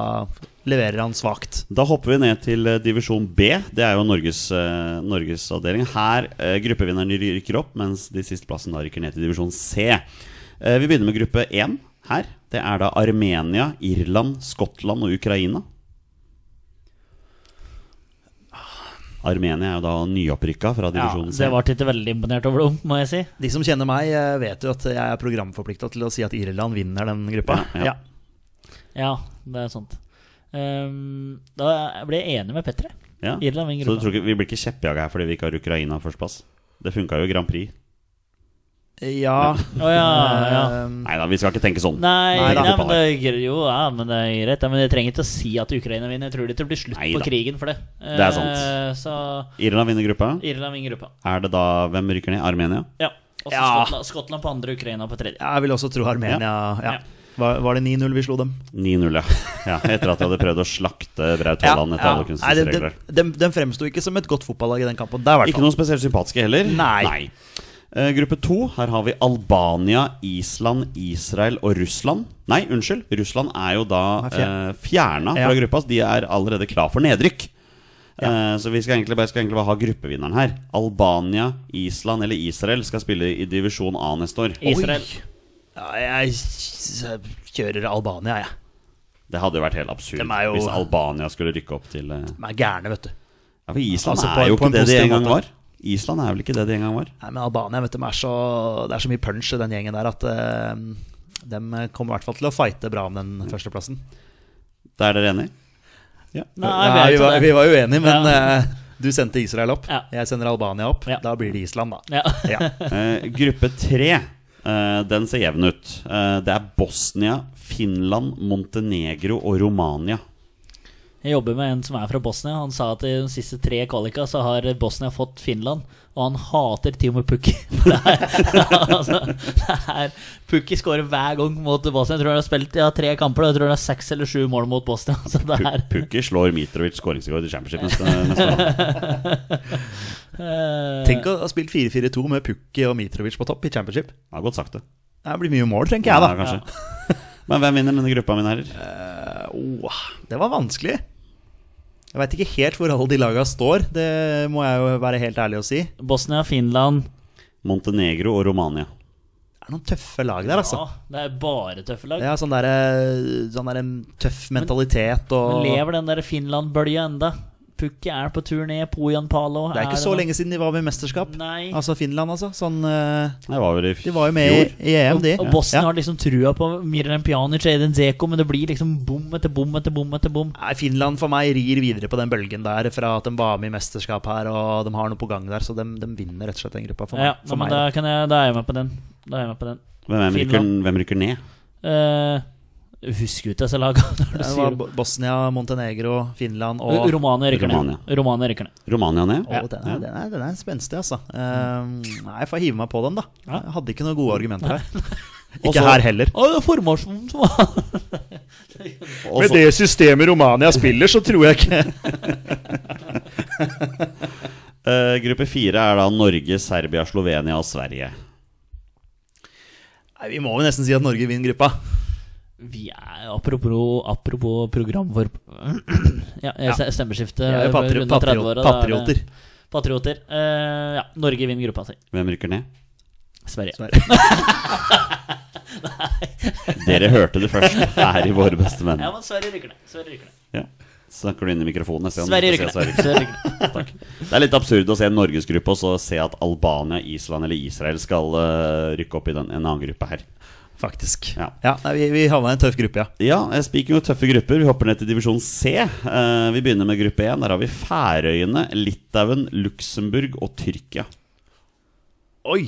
leverer han svakt. Da hopper vi ned til eh, divisjon B. Det er jo Norges, eh, Norges avdeling. Her eh, gruppevinnerne rykker opp, mens de siste plassen da rykker ned til divisjon C. Eh, vi begynner med gruppe 1 her. Det er da Armenia, Irland, Skottland og Ukraina. Armenia er jo da nyopprykka fra Ja, divisjon C. det var ikke veldig imponert over dem, må jeg si. De som kjenner meg, eh, vet jo at jeg er programforplikta til å si at Irland vinner den gruppa. Ja, ja. Ja, det er sant. Ehm, da ble jeg enig med Petter. jeg. Ja. Irland vinner Så du gruppa. tror ikke, vi blir ikke kjeppjaga her fordi vi ikke har Ukraina førsteplass? Det funka jo i Grand Prix. Ja. Å ja, ja. Eh, Nei da, vi skal ikke tenke sånn. Nei, Nei, nei, da. men det er gre- jo, ja, men det er greit. Ja, men jeg trenger ikke å si at Ukraina vinner. Jeg tror det ikke blir slutt Nei på da. krigen for det. Det er sant. Eh, Så Irland vinner gruppa. Irland vinner gruppa. Er det da Hvem rykker ned? Armenia? Ja. Og så Ja. Skottland, Skottland på andre, Ukraina på tredje. Jeg vil også tro Armenia ja. Var, var det 9-0 vi slo dem? 9-0, ja. ja. Etter at jeg hadde prøvd å slakte Braut Haaland etter alle Nei, kunstens den, regler. den, den fremsto ikke som et godt fotballag i den kampen. Der, i hvert Ikke fall. noe spesielt sympatiske heller. Nei. Eh, gruppe to, her har vi Albania, Island, Israel og Russland. Nei, unnskyld. Russland er jo da Er fjer- eh, fjerna fra Ja. gruppa. så De er allerede klar for nedrykk. Eh, så vi skal egentlig, bare, skal egentlig bare ha gruppevinneren her. Albania, Island eller Israel skal spille i divisjon A neste år. Israel. Ja, jeg s- kjører Albania, jeg. Det hadde jo vært helt absurd Dem er jo- hvis Albania skulle rykke opp til eh, De er gærne, vet du. Ja, for Island Altså, på- er jo på ikke en det de positiv en gang måte. var. Island er vel ikke det de en gang var. Nei, men Albania vet du, de er så, det er så mye punch i den gjengen der at eh, de kommer i hvert fall til å fighte bra om den førsteplassen. Da er dere enig? Nei, Nei, vi, vi var, vi vet ikke det. var jo enige, men eh, du sendte Israel opp. Ja. Jeg sender Albania opp. Ja. Da blir det Island, da. Ja. Ja. Eh, gruppe tre, eh, den ser jevn ut. Eh, det er Bosnia, Finland, Montenegro og Romania. Jeg jobber med en som er fra Bosnia. Han sa at i de siste tre kvalika så har Bosnia fått Finland, og han hater Timo Pukki. <laughs> Det er, altså, det er, Pukki skårer hver gang mot Bosnia. Jeg tror han har spilt ja, tre kamper, og jeg tror han har seks eller sju mål mot Bosnia. <laughs> Så det er, Pu- Pukki slår Mitrovic skåringsrekord i Championship neste, neste år. eh, Tenk å ha spilt 4-4-2 med Pukki og Mitrovic på topp i championship. Det har godt sagt, det. Det blir mye mål, tenker jeg, da. Ja, kanskje. Men hvem vinner denne gruppa, mine herrer? Åh, det var vanskelig. Jeg veit ikke helt hvor alle de laga står, det må jeg jo være helt ærlig og si. Det Bosnia, Finland Montenegro og Romania. er noen tøffe lag der, altså. Ja, det er bare tøffe lag. Det er sånn der, eh, sånn der en tøff mentalitet Men og lever den der Finland-bølja enda? Pukki er på tur ned, Pojan Palo Det er ikke så lenge siden de var med i mesterskap. Nei. Altså Finland, altså. Sånn, eh, Det var vel i de var jo med i, fjor. i EM, de. Og Bosnia Ja. har liksom trua på Miran Pjanic og Edin Zeko, men det blir liksom bom etter bom etter bom etter bom. Nei, Finland for meg rir videre på den bølgen der fra at de var med i mesterskap her og de har noe på gang der, så de, de vinner rett og slett den gruppa for meg. Ja, for men meg da, da. kan jeg, da er jeg med på den. Da er jeg med på den. Hvem, hvem, rykker, Finland. hvem rykker ned? Eh, husker jo ikke disse lagene <laughs> når du Det sier var det. Bo- Bosnia, Montenegro, Finland og Romania rykker ned. Romania. Romania rykker ned. Romania ned? Å, den, er, den, er, den er spenstig, altså. Ehm, nei, jeg får hive meg på den, da. Ja. Jeg hadde ikke noen gode argumenter <laughs> her. Og ikke så- her heller. Å, det er formasjonen som var <laughs> Og så- systemet Romania spiller, så tror jeg ikke <laughs> Eh, gruppe fire er da Norge, Serbia, Slovenia og Sverige. Nei, Vi må jo nesten si at Norge vinner gruppa. Vi er Apropos, apropos program for <clears throat> Ja, stemmeskifte. Vi er jo patri runde patriot 30-åra, da er det- patrioter. Patrioter. Eh, ja, Norge vinner gruppa si. Hvem rykker ned? Sverige. <laughs> Dere hørte det først her i Våre beste menn. Ja, men Sverige rykker ned. Sverige rykker ned. Ja. Snakker du inn i mikrofonen? Jeg ser om du Sverige ikke rykker ned. ser Sverige. Sverige rykker ned. Takk. Det er litt absurd å se en norgesgruppe og så se at Albania, Island eller Israel skal eh, rykke opp i den, en annen gruppe her. Faktisk. Ja. Ja, nei, vi, vi havna i en tøff gruppe, ja. Ja, eh, speaking of tøffe grupper, vi hopper ned til divisjon C. Eh, vi begynner med gruppe 1. Der har vi Færøyene, Litauen, Luxembourg og Tyrkia. Oi!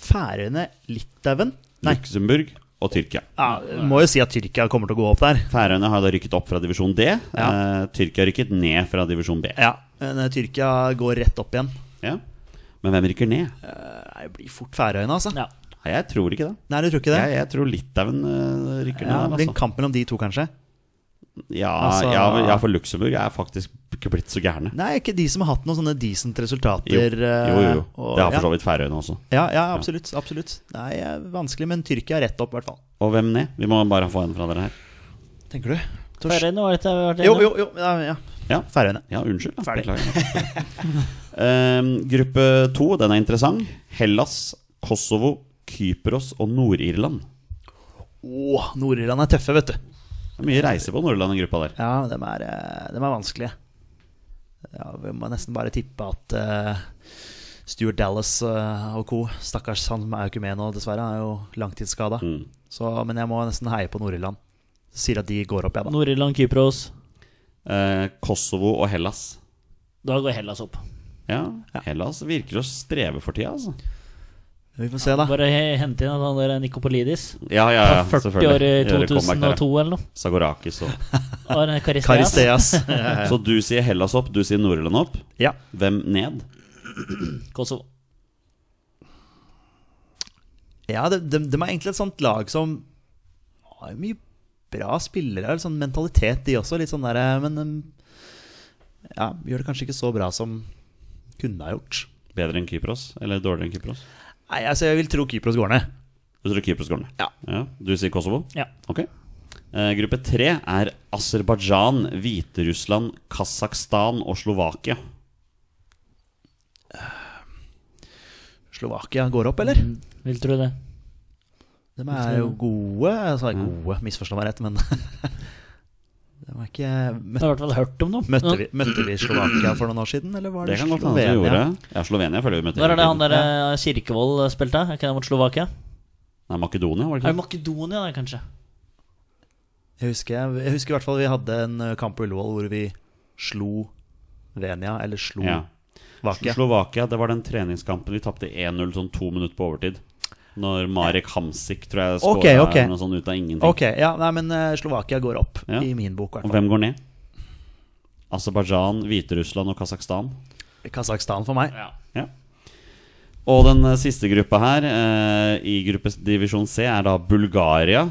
Færøyene, Litauen Nei, Luxembourg og Tyrkia. Mm. ja, må jo si at Tyrkia kommer til å gå opp der. Færøyene har da rykket opp fra divisjon D. Eh, Tyrkia har rykket ned fra divisjon B. Ja, men eh, Tyrkia går rett opp igjen. Ja. Men hvem rykker ned? Nei, det blir fort Færøyene, altså. Ja. Nei, jeg tror ikke det. Nei, du tror ikke det? Jeg, jeg tror Litauen eh, rykker Ja, ned. det der, blir en Altså. kamp mellom de to, kanskje. Ja, altså- ja, men- ja, for Luxembourg er faktisk ikke blitt så gærne. Nei, ikke de som har hatt noen sånne decent resultater. Jo, eh, jo, jo. jo. og- Det har ja. for så vidt Færøyene også. Ja, ja, absolutt. absolutt. Nei, eh, vanskelig, men Tyrkia er rett opp, i hvert fall. Og hvem ned? Vi må bare få en fra dere her. Tenker du? Tors Færøyene var dette vi har vært jo, innom. jo, jo. Ja, ja. Ja. Færøyene. Ja, unnskyld. da. Ferdig. Beklager. <laughs> Ehm, gruppe to, den er interessant. Hellas, Kosovo, Kypros og Nord-Irland. Å, Nord-Irland er tøffe, vet du. Det er mye reise på Nord-Irland, den gruppa der. Ja, dem er, eh, dem er vanskelige. Ja, vi må nesten bare tippe at eh, Stuart Dallas eh, og co. Stakkars, han er jo ikke med nå, dessverre. Han er jo langtidsskada. Mm. Så- Men jeg må nesten heie på Nord-Irland. Sier at de går opp, jeg, da. Nord-Irland, Kypros. Eh, Kosovo og Hellas. Da går Hellas opp. Ja, Hellas virker å streve for tida, altså. Vi får se, da. Bare he- hente inn han der Nikopolidis. Ja, ja, ja, 40 år eh, i Gjøre comeback der, 2002 eller noe. ja. Sagorakis og Og en Karisteas. Karisteas. <laughs> Så du sier Hellas opp, du sier Nord-Irland opp. <laughs> ja. Hvem ned? Kosovo. Ja, de, de, de er egentlig et sånt lag som har mye bra spillere. Litt sånn mentalitet, de også. Litt sånn der, men um, ja, gjør det kanskje ikke så bra som kunne ha gjort. Bedre enn Kypros? Eller dårligere enn Kypros? Nei, altså Jeg vil tro Kypros går ned. Du tror Kypros går ned? Ja. Du sier Kosovo? Ja. Ok. Eh, gruppe tre er Aserbajdsjan, Hviterussland, Kasakhstan og Slovakia. Slovakia går opp, eller? Vil tro det. De er jo gode. Altså, gode, misforstå meg <laughs> rett, men De var ikke Jeg møtte, har i hvert fall hørt om dem. møtte, vi, møtte vi Slovakia for noen år siden, eller var Det det, kan godt hende at vi gjorde. Ja, Slovenia følger vi med til. Når er det han der eh, Kirkevold spilte? Er ikke det mot Slovakia? Nei, Makedonia, var det Er det ikke det? Makedonia, det, kanskje? Jeg husker, jeg husker i hvert fall vi hadde en eh, kamp på Ullevål hvor vi slo Venia, eller slo Ja. Vakia. Slovakia, det var den treningskampen vi tapte 1-0 sånn to minutter på overtid. Når Marek Hamsik, tror jeg, skåra Ok, ok. noe sånn ut av ingenting. Ok, ja, nei, men eh, Slovakia går opp Ja. i min bok. i hvert Og fall. hvem går ned? Aserbajdsjan, Hviterussland og Kasakhstan. Kasakhstan for meg. Ja. Ja. Og den eh, siste gruppa her, eh, i gruppedivisjon C, er da Bulgaria,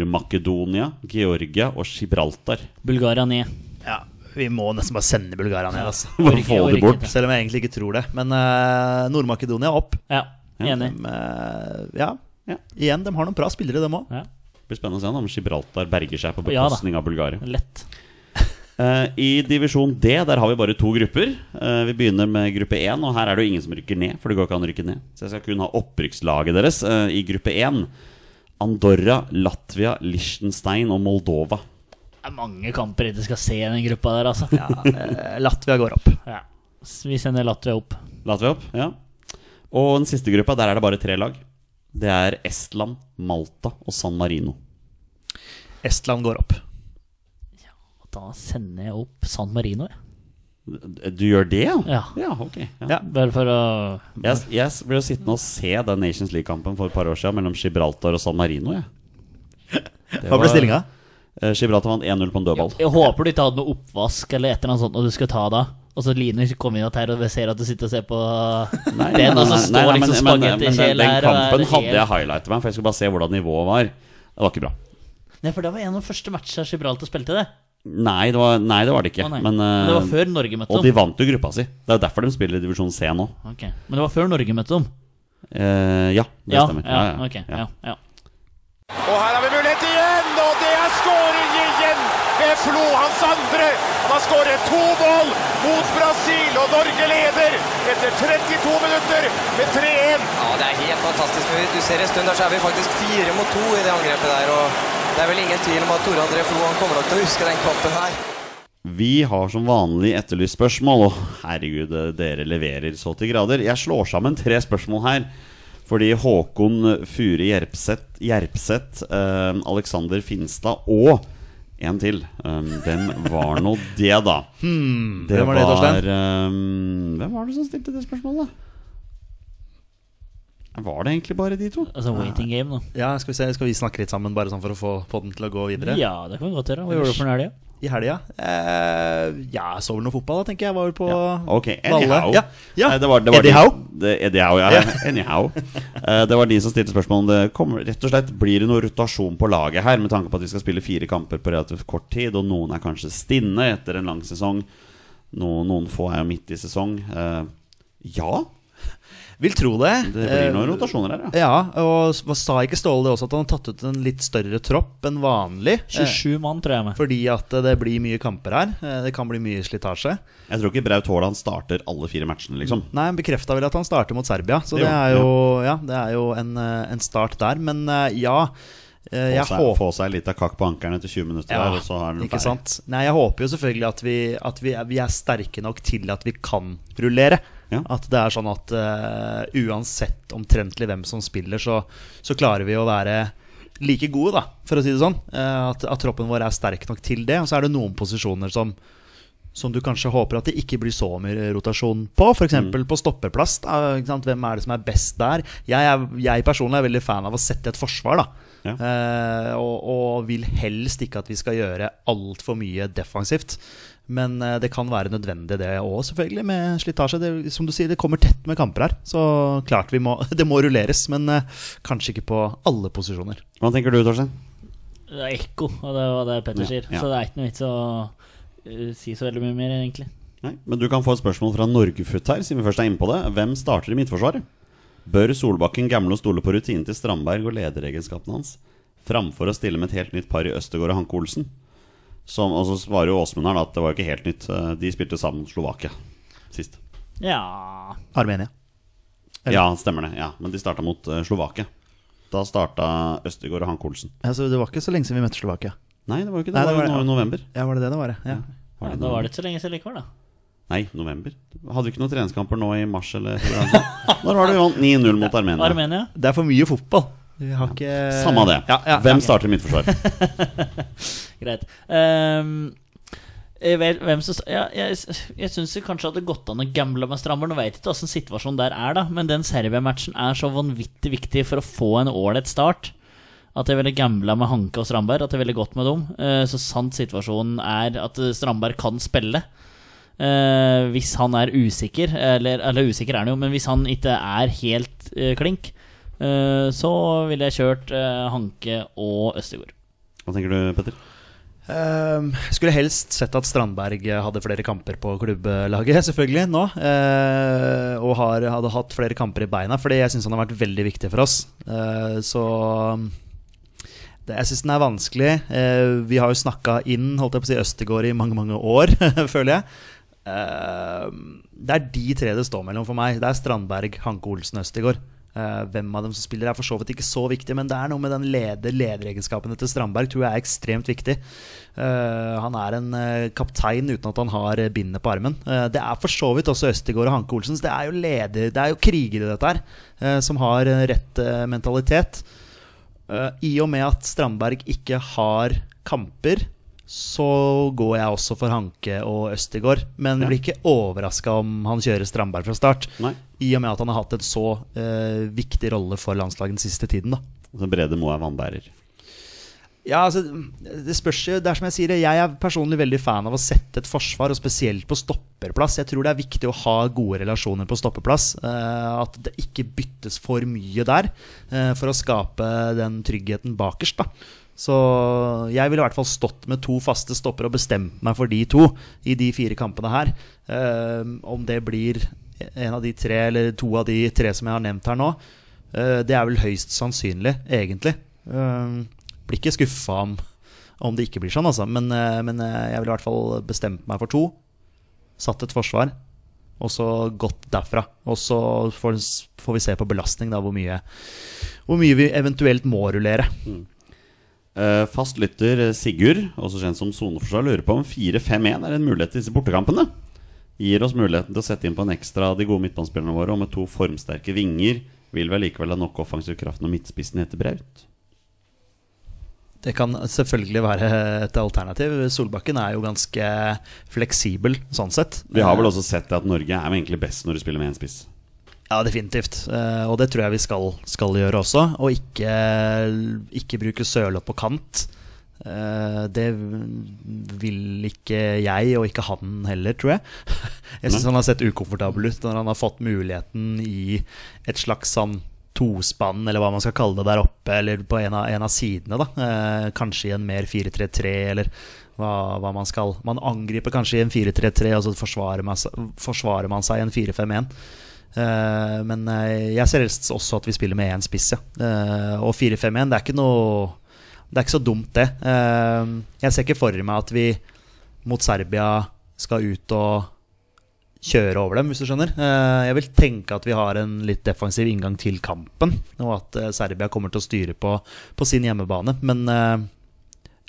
Nord-Makedonia, Georgia og Gibraltar. Bulgaria ned. Ja, Vi må nesten bare sende Bulgaria ned, altså. Bare Orker- få orker det bort. ikke. Selv om jeg egentlig ikke tror det. Men eh, Nord-Makedonia opp. Ja, enig. Dem, eh, ja. Ja. Igjen, de har noen bra spillere, dem òg. Ja, Det blir spennende å se om Gibraltar berger seg på Ja da. bekostning av Bulgaria. lett. Eh, I divisjon D der har vi bare to grupper. Eh, vi begynner med gruppe 1, og her er det jo ingen som rykker ned. For det går ikke an å rykke ned Så jeg skal kun ha opprykkslaget deres eh, i gruppe 1. Andorra, Latvia, Liechtenstein og Moldova. Det er mange kamper de skal se i den gruppa der, altså. Ja. eh, Latvia går opp. S- Vi sender Latvia opp. Latvia opp, ja. Og den siste gruppa, der er det bare tre lag. Det er Estland, Malta og San Marino. Estland går opp. Da sender jeg opp San Marino, jeg. Du gjør det, ja? Ja. ok. Ja. Ja. Bare for å Jeg, jeg ble jo sittende og se den Nations League-kampen for et par år siden mellom Gibraltar og San Marino. jeg. Det <laughs> Hva var- ble stillinga? Eh, Gibraltar vant 1-0 på en dødball. Jeg håper du ikke hadde noe oppvask eller et eller annet sånt, og du skal ta da. Og så Line kommer inn at her og ser at du sitter og ser på Nei, nei, den, og så nei, nei, står nei, men- liksom men- men den- spagettikjel Den her. og er kampen hadde helt- jeg highlightet meg, for jeg skulle bare se hvordan nivået var. Det var ikke bra. Nei, for det var en av de første matchene Gibraltar spilte det. Nei, det var, nei, det, var det ikke. Å, nei. Men, eh, det var før Norge møtte og de dem. vant jo gruppa si. Det er jo derfor de spiller i divisjon C nå. Ok, Men det var før Norge møtte dem. Eh, ja, det Ja, stemmer. ja, ok, ja, ja. Og her har vi mulighet igjen, og det er skåring igjen med Flo, hans andre. Han har skåret to mål mot Brasil, og Norge leder etter 32 minutter med 3-1. Ja, det er helt fantastisk. Du ser en stund der så er vi faktisk fire mot to i det angrepet der. Og det er vel ingen tvil om at Tore André Flo han kommer nok til å huske den kampen her. Vi har som vanlig etterlyst spørsmål, og herregud, eh, dere leverer så til grader. Jeg slår sammen tre spørsmål her. Fordi Håkon Fure Gjerpseth, Gjerpseth eh, Alexander Finstad og en til. Um, hvem var nå det, da? det hvem var det, Torstein? ehm, Hvem var det som stilte det spørsmålet? Var det egentlig bare de to? Altså waiting game, da. Ja, skal vi, se, skal vi snakke litt sammen, bare sånn for å få podden til å gå videre? Ja, det kan vi godt gjøre. Hva gjorde du for en helg? da? I helga? Eh, ja, jeg så vel noe fotball, da, tenker jeg. Var vel på Ok, Valle. anyhow. Ja. Ja. Nei, Eh, det var, det var Eddie de- Howe? Det, Eddie Howe, ja. <laughs> Anyhow. Eh, det var de som stilte spørsmål om det kommer Rett og slett, blir det noe rotasjon på laget her, med tanke på at vi skal spille fire kamper på relativt kort tid, og noen er kanskje stinne etter en lang sesong. Noen, noen få er jo midt i sesong. Eh, ja, Vil tro det. det blir noen Eh, rotasjoner her, ja. Ja, og s- sa ikke Ståle det også, at han har tatt ut en litt større tropp enn vanlig? Eh, 27 mann, tror jeg. med Fordi at eh, det blir mye kamper her. Eh, Det kan bli mye slitasje. Jeg tror ikke Braut Haaland starter alle fire matchene, liksom. Nei, han bekrefta vel at han starter mot Serbia, så Det det, gjorde er han, jo, ja, det er jo en, eh, en start der. Men eh, ja, Få eh, jeg seg, håper få seg litt av kakk på ankelen etter 20 minutter der, og så er den ferdig. ikke sant? Nei, jeg håper jo selvfølgelig at vi, at vi, er, vi er sterke nok til at vi kan rullere. Ja. At det er sånn at eh, uansett omtrentlig hvem som spiller, så, så klarer vi å være like gode, da, for å si det sånn. Eh, at, at troppen vår er sterk nok til det. Og så er det noen posisjoner som som du kanskje håper at det ikke blir så mye eh, rotasjon på. F.eks. eksempel på stopperplass. Da, ikke sant? Hvem er det som er best der? Jeg, er, jeg personlig er veldig fan av å sette et forsvar, da. Ja. Eh, og, og vil helst ikke at vi skal gjøre altfor mye defensivt. Men eh, det kan være nødvendig, det òg, selvfølgelig, med slitasje. Det, som du sier, det kommer tett med kamper her. Så klart vi må <laughs> Det må rulleres, men eh, kanskje ikke på alle posisjoner. Hva tenker du, Torstein? Det er ekko, og det er hva det Petter Ja, sier. ja. Så det er ikke noe vits å eh, si så veldig mye mer, egentlig. Nei, men du kan få et spørsmål fra Norgefutt her, siden vi først er inne på det. Hvem starter i Midtforsvaret? Bør Solbakken gamle og stole på rutinen til Strandberg og lederegenskapene hans, framfor å stille med et helt nytt par i Østegård og Hanke Olsen? Som, og så svarer jo Åsmund her da, at det var jo ikke helt nytt. Eh, De spilte sammen mot Slovakia sist. Ja Armenia. Eller- Ja, stemmer det. ja, Men de starta mot eh, Slovakia. Da starta Østegård og Hanke Olsen. Altså, det var ikke så lenge siden vi møtte Slovakia. Nei, det var jo ikke det. Nei, det det var jo var- nå i november. Ja, var det det det var? Ja. ja. Var det Da var november? det ikke så lenge siden likevel, da. Nei, november. Hadde vi ikke noen treningskamper nå i mars eller <laughs> Når var det vi vant 9-0 mot Armenia? Armenia? Det er for mye fotball. Vi har ikke Samme det. Eh, Ja, ja, Hvem ja. starter midtforsvar? Greit. Ehm, jeg vet, hvem som, ja, jeg jeg syns det kanskje hadde gått an å gamble med Strammer. Nå vet jeg ikke åssen situasjonen der er, da, men den Serbia-matchen er så vanvittig viktig for å få en ålreit start. At jeg ville gambla med Hanke og Strandberg. At jeg ville gått med dem. Eh, Så sant situasjonen er at eh, Strandberg kan spille. Eh, hvis han er usikker, eller, eller usikker er han jo, men hvis han ikke er helt eh, klink, eh, så ville jeg kjørt eh, Hanke og Østegård. Hva tenker du, Petter? Ehm, skulle helst sett at Strandberg hadde flere kamper på klubblaget, <laughs> selvfølgelig, nå. eh, og har, hadde hatt flere kamper i beina, fordi jeg syns han har vært veldig viktig for oss. Eh, så det, jeg syns den er vanskelig. Eh, vi har jo snakka inn holdt jeg på å si, Østegård i mange, mange år, <laughs> føler jeg. Eh, det er de tre det står mellom for meg. Det er Strandberg, Hanke Olsen, Østegård. Eh, hvem av dem som spiller er for så vidt ikke så viktig, men det er noe med den leder lederegenskapene til Strandberg tror jeg er ekstremt viktig. Eh, han er en eh, kaptein uten at han har eh, bindet på armen. Eh, det er for så vidt også Østegård og Hanke Olsen. så Det er jo leder, det er jo krigere, dette her, eh, som har eh, rett eh, mentalitet. Eh, I og med at Strandberg ikke har kamper, så går jeg også for Hanke og Østigård. Men blir ikke overraska om han kjører Strandberg fra start. Nei. I og med at han har hatt en så eh, viktig rolle for landslaget den siste tiden. da Altså, Brede Moe er vannbærer. ja, altså, det spørs jo, det er som jeg sier, det, jeg er personlig veldig fan av å sette et forsvar, og spesielt på stopperplass. Jeg tror det er viktig å ha gode relasjoner på stopperplass. eh, at det ikke byttes for mye der, eh, for å skape den tryggheten bakerst. da. Så jeg ville i hvert fall stått med to faste stopper og bestemt meg for de to i de fire kampene her. Eh, om det blir en av de tre, eller to av de tre som jeg har nevnt her nå, eh, det er vel høyst sannsynlig, egentlig. Eh, blir ikke skuffa om, om det ikke blir sånn, altså. Men, eh, men eh, jeg ville i hvert fall bestemt meg for to. Satt et forsvar, og så gått derfra. Og så får, får vi se på belastning, da, hvor mye, hvor mye vi eventuelt må rullere. Eh, fast lytter eh, Sigurd, også kjent som soneforsvar, lurer på om 4-5-1 er en mulighet til disse bortekampene. Gir oss muligheten til å sette inn på en ekstra av de gode midtbanespillerne våre, og med to formsterke vinger vil vi likevel ha nok offensiv kraft når midtspissen heter Braut. Det kan selvfølgelig være et alternativ. Solbakken er jo ganske fleksibel sånn sett. Vi har vel også sett at Norge er jo egentlig best når du spiller med én spiss. Ja, definitivt. Eh, Og det tror jeg vi skal, skal gjøre også. Og ikke, ikke bruke sørlopp på kant. Eh, Det vil ikke jeg, og ikke han heller, tror jeg. <laughs> Jeg syns han har sett ukomfortabel ut når han har fått muligheten i et slags sånn tospann, eller hva man skal kalle det der oppe, eller på en av, en av sidene, da. Eh, Kanskje i en mer 4-3-3, eller hva, hva man skal. Man angriper kanskje i en 4-3-3, og så forsvarer man, seg- forsvarer man seg i en 4-5-1. Eh, men eh, jeg ser helst også at vi spiller med én spiss, ja. Eh, og 4-5-1, det er ikke noe Det er ikke så dumt, det. Eh, jeg ser ikke for meg at vi mot Serbia skal ut og kjøre over dem, hvis du skjønner. Eh, Jeg vil tenke at vi har en litt defensiv inngang til kampen, og at eh, Serbia kommer til å styre på, på sin hjemmebane. Men eh,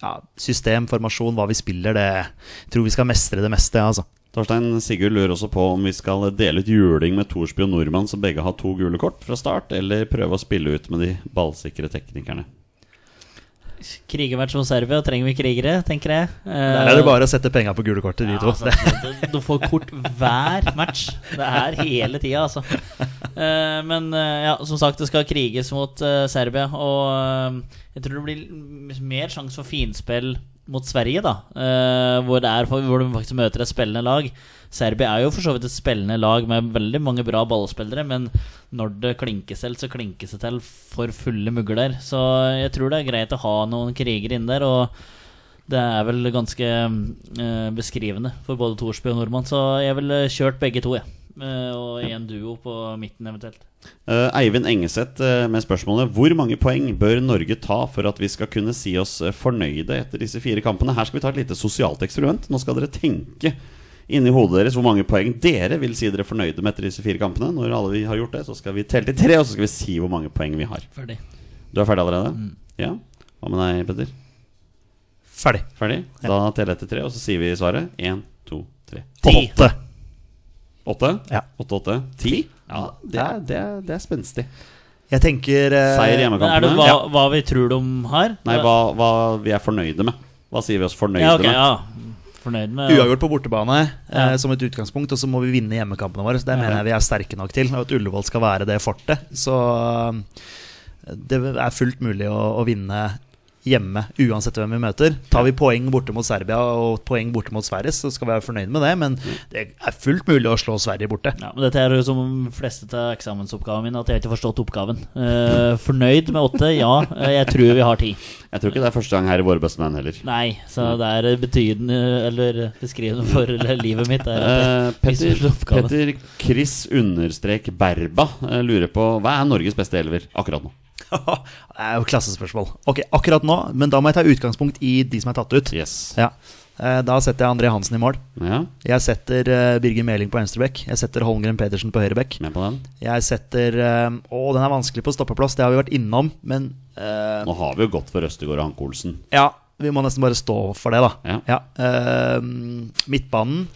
ja, system, formasjon, hva vi spiller, det jeg tror vi skal mestre det meste, altså. Torstein Sigurd lurer også på om vi skal dele ut juling med Thorsby og Nordmann, som begge har to gule kort fra start, eller prøve å spille ut med de ballsikre teknikerne. Krigermatch mot Serbia, trenger vi krigere, tenker jeg. Eh, Der er det bare å sette penga på gule kort til de Ja, to. altså, du, du får kort hver match. Det er hele tida, altså. Eh, men eh, ja, som sagt, det skal kriges mot eh, Serbia. Og eh, jeg tror det blir m- mer sjanse for finspill mot Sverige, da. eh, hvor, det er, for- hvor de faktisk møter et spillende lag. Serbia er jo for så vidt et spillende lag med veldig mange bra ballspillere, men når det klinkes til, så klinkes det til for fulle mugler. Så jeg tror det er greit å ha noen krigere inne der. Og det er vel ganske eh, beskrivende for både Thorsby og Nordmann, så jeg ville kjørt begge to, jeg. Eh, og i en duo på midten eventuelt. Eh, Eivind Engeseth eh, med spørsmålet Hvor mange poeng bør Norge ta for at vi skal kunne si oss eh, fornøyde etter disse fire kampene? Her skal vi ta et lite sosialt eksperiment. Nå skal dere tenke inni hodet deres hvor mange poeng dere vil si dere er fornøyde med etter disse fire kampene. Når alle vi har gjort det, så skal vi telle til tre, og så skal vi si hvor mange poeng vi har. Ferdig. Du er ferdig allerede? Ja? Hva med deg, Petter? Ferdig. Ferdig? Da teller jeg til tre, og så sier vi svaret. Én, to, tre. Ti. Åtte. Åtte? Ja. Åtte, åtte. Ti? Ja, det er, det er, det er spenstig. Jeg tenker eh, Seier i Men er det hjemmekampene. hva, hva vi tror de har? Nei, hva, hva vi er fornøyde med. Hva sier vi oss fornøyde ja, ok, med? ja. Fornøyd med Uavgjort på bortebane eh, Ja. som et utgangspunkt, og så må vi vinne hjemmekampene våre. Så det mener jeg vi er sterke nok til, og at Ullevål skal være det fortet. Så det er fullt mulig å, å vinne hjemme, uansett hvem vi møter. Tar vi poeng borte mot Serbia og poeng borte mot Sverige, så skal vi være fornøyd med det, men det er fullt mulig å slå Sverige borte. Ja, men dette er jo som de fleste til eksamensoppgaven min, at jeg har ikke forstått oppgaven. Eh, fornøyd med åtte? Ja, eh, jeg tror vi har ti. Jeg tror ikke det er første gang her i Våre beste menn heller. Nei, så det er betydende, eller beskrivende for livet mitt. Er at Eh, Petter, Misforstått oppgave. Petter Chris understrek Berba eh, lurer på hva er Norges beste elver akkurat nå? <laughs> det er jo klassespørsmål. Ok, akkurat nå, men da må jeg ta utgangspunkt i de som er tatt ut. Yes. Ja. Eh, Da setter jeg André Hansen i mål. Ja, Jeg setter eh, Birger Meling på venstrebekk. Jeg setter Holmgren Pedersen på høyrebekk. med på den. Jeg setter eh, Å, den er vanskelig på stoppeplass, det har vi vært innom, men eh, Nå har vi jo gått for Østegård og Hanke Olsen. Ja, vi må nesten bare stå for det, da. Ja. eh, midtbanen eh,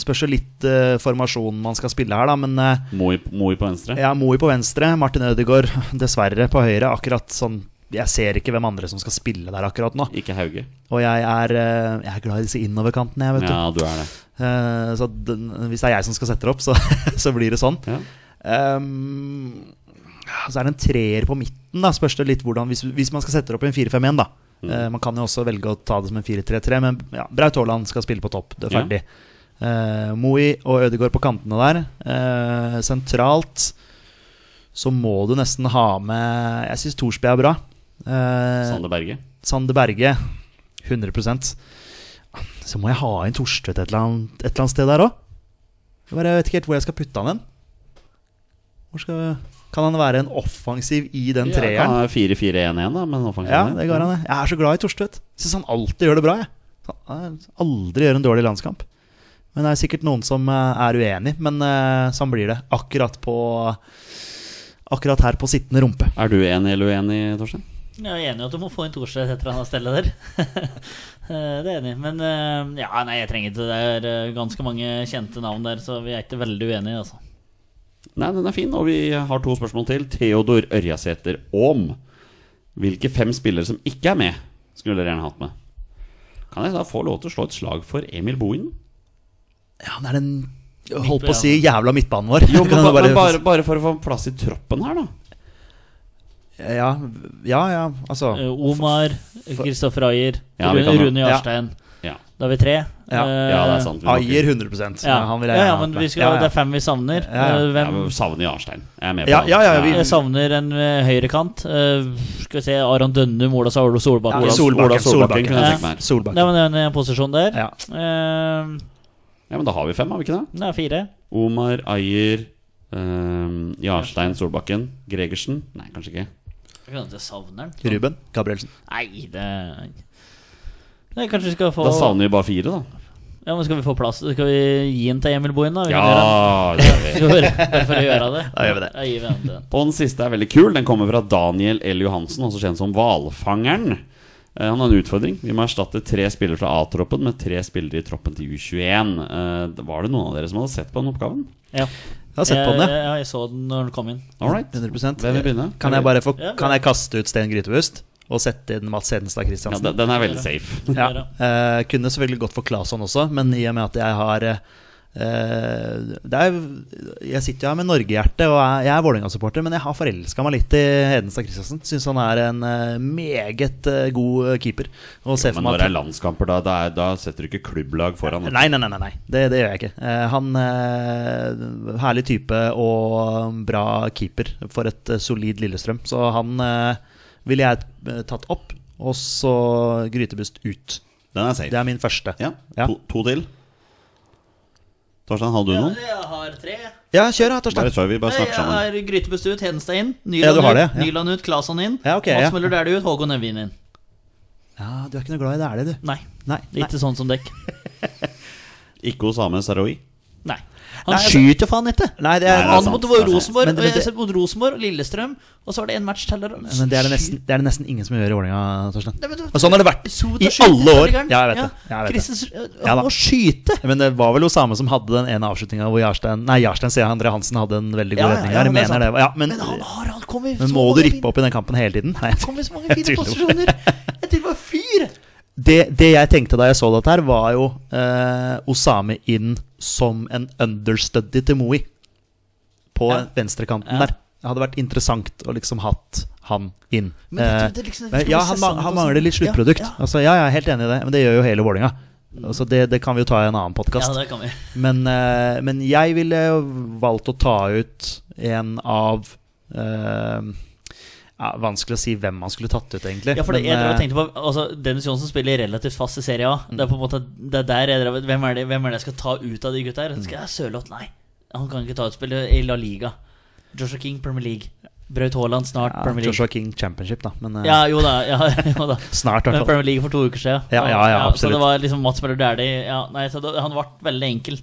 Spørs jo litt eh, formasjonen man skal spille her, da, men eh, Moi, Moi på venstre. ja, Moi på venstre, Martin Ødegaard <laughs> dessverre på høyre. Akkurat sånn Jeg ser ikke hvem andre som skal spille der akkurat nå. Ikke Hauge. Og jeg er, eh, jeg er glad i disse innoverkantene, jeg, vet du. Ja, du er det. Eh, så den, hvis det er jeg som skal sette det opp, så, <laughs> så blir det sånn. Ja. Ehm, så er det en treer på midten, da, spørs det litt hvordan Hvis, hvis man skal sette det opp i en 4-5-1, da. Mm. Eh, man kan jo også velge å ta det som en 4-3-3, men ja, Braut Haaland skal spille på topp. Det er Ja. ferdig. Eh, Moi og Ødegaard på kantene der. Eh, sentralt så må du nesten ha med Jeg syns Thorsby er bra. Eh, Sander Berge. Sander Berge 100 Så må jeg ha inn Torstvedt et, eller annet- et eller annet sted der òg. Jeg bare vet ikke helt hvor jeg skal putte han hen. Hvor skal, kan han være en offensiv i den Ja, kan treeren? ha 4-4-1-1, da, men offensiv. Ja, det går han. jeg. Jeg er så glad i Torstvedt. Syns han alltid gjør det bra. jeg. Han aldri gjør en dårlig landskamp. Men det er sikkert noen som eh, er uenig, men eh, sånn blir det. Akkurat på Akkurat her på sittende rumpe. Er du enig eller uenig, Torstein? Jeg er enig i at du må få inn Thorstvedt et eller annet sted der. <laughs> Eh, det er jeg enig. i. Men eh, ja, nei, jeg trenger ikke det. Det er eh, ganske mange kjente navn der, så vi er ikke veldig uenige, altså. Nei, den er fin, og vi har to spørsmål til. Theodor Ørjasæter Aam. Hvilke fem spillere som ikke er med, skulle dere gjerne hatt med? Kan jeg da få lov til å slå et slag for Emil Bohinen? Ja, han er den Holdt på å si jævla midtbanen vår. <laughs> Jo, men, Kan ba, du men bare, bare for å få plass i troppen her, da. Ja, ja, ja altså Eh, Omar, Kristoffer Ayer, Ja, vi Rune, kan ha- Rune Ja. Jarstein. Ja, Da har vi tre. Ja. Eh, ja det er sant. vi må Ayer ikke- 100 Ja, Han vil jeg ja, ja gjerne ha men med. vi skal, ja, ja. det er fem vi savner. Ja, ja. Eh, Ja, Hvem, men savner Jarstein. Jeg er med på Ja, det. ja, ja, vi- Jeg savner en eh, høyrekant. Eh, skal vi se Aron Dønnum, Ola Saulo Solbakken. Ja, Ola, Solbakken, Ola Solbakken Solbakken. kunne jeg Ja. tenkt meg her. Solbakken. Det var den eh, posisjonen der. Ja. Eh, Ja, men da har vi fem, har vi ikke det? det er fire. Omar, Ayer, ehm, Jarstein, Solbakken, Gregersen Nei, kanskje ikke. Jeg kan ikke savne den. Ruben Gabrielsen. Nei, det Nei, kanskje vi skal få Da savner vi bare fire, da. Ja, men Skal vi få plass? Skal vi gi den til Emil Bohin, da? Vi kan Ja, det gjør vi. gjøre det. Bare for å gjøre det. <laughs> Da gjør vi det. Da gir vi den til den. Og den siste er veldig kul. Den kommer fra Daniel L. Johansen, også kjent som Hvalfangeren. Eh, Han har en utfordring. Vi må erstatte tre spillere fra A-troppen med tre spillere i troppen til U21. Eh, Var det noen av dere som hadde sett på den oppgaven? Ja. Jeg har sett på den, jeg. jeg. Ja, jeg så den når den kom inn. All right. 100 Hvem vil begynne? Kan jeg bare få, Ja, ja. kan jeg kaste ut Sten Grytebust og sette inn Mats Hedenstad Ja, Christiansen? den den er veldig <laughs> safe. Ja. Ja. Eh, kunne selvfølgelig gått for Claesson også, men i og med at jeg har eh, eh, det er, jeg sitter jo her med Norgehjerte, og er, jeg er Vålerenga-supporter, men jeg har forelska meg litt i Hedenstad Christiansen. Syns han er en eh, meget eh, god eh, keeper. Og ser Men for meg når at- det er landskamper, da, da, er- da setter du ikke klubblag foran. Nei, nei, nei, nei, nei. Det, det gjør jeg ikke. Eh, han eh, Herlig type og um, bra keeper for et eh, solid Lillestrøm. Så han eh, ville jeg eh, tatt opp, og så grytebust ut. Den er Det safe. er min første. Ja, Ja. To, to til. Torstein, hadde du noen? Jeg har tre. Ja, kjør da, Bare Torstein. kjør, vi bare Jeg snakker sammen. har Grytebust ut, Hedenstad inn, Ja, Nyland du har det, ut, ja. Nyland ut, Claesson inn, Ja, ok, Mats ja. Møller Dæhlie ut, Håkon Evjen inn. Ja, du er ikke noe glad i det, er det, du? Nei. Nei. nei. Ikke sånn som dekk. Ikke Osame Saroui. Nei. Han Nei, altså- skyter faen ikke! altså. Nei, det er, Nei, Han sant, mot det er sant. Rosenborg, Men- men og jeg det- ser mot Rosenborg, Lillestrøm, og så var det en match til. der. men det er det, nesten, det er det nesten ingen som gjør i Vålerenga, Torstein. Nei, men du- Og sånn har det vært Sot og i skyter, alle år. Bergeren. Ja, jeg vet det. Jeg vet det. Christensen- Ja, han da. må skyte! Men det var vel Osame som hadde den ene avslutninga hvor Jarstein Nei, Jarstein sier jeg, André Hansen hadde en veldig god Ja, ja, redning ja, der. det er Jeg sant. mener det. Ja, men, Men han har han kom i Men så må du mange rippe opp i den kampen hele tiden? Nei. fine- kom i så mange Jeg fine tviler på det. posisjoner! Jeg tviler på fyr! <laughs> Det, det jeg tenkte da jeg så dette her, var jo eh, Osame inn som en understudy til Moui. På Ja. venstrekanten Ja. der. Det hadde vært interessant å liksom hatt han inn. Men det- Eh, det er liksom- men ja, han, ma- prosessene han og sånn. mangler litt sluttprodukt. Ja, Altså, ja, jeg er helt enig i det, men det gjør jo hele Vålinga. Altså, det, det kan vi jo ta i en annen Ja, podkast. det kan vi. Men, eh, men jeg ville valgt å ta ut en av eh, ja, Vanskelig å si hvem man skulle tatt ut, egentlig. Ja, for det, Men, jeg drev eh, og tenkte på altså, Dennis Johnsen spiller relativt fast i Serie A. Det er på en måte Det er der jeg drev Hvem er det, hvem er det jeg skal ta ut av de gutta her? Skal jeg Sørloth? Nei. Han kan ikke ta ut spillet i La Liga. Joshua King, Premier League. Braut Haaland, snart ja, Premier League. Joshua King Championship, da. Men eh, Ja, jo da. Ja, <laughs> jo da. snart, i Men hvert fall. Premier League for to uker siden. Ja, ja, ja, så absolutt. det var liksom Mats Møller Dæhlie ja, nei, så det- Han ble veldig enkelt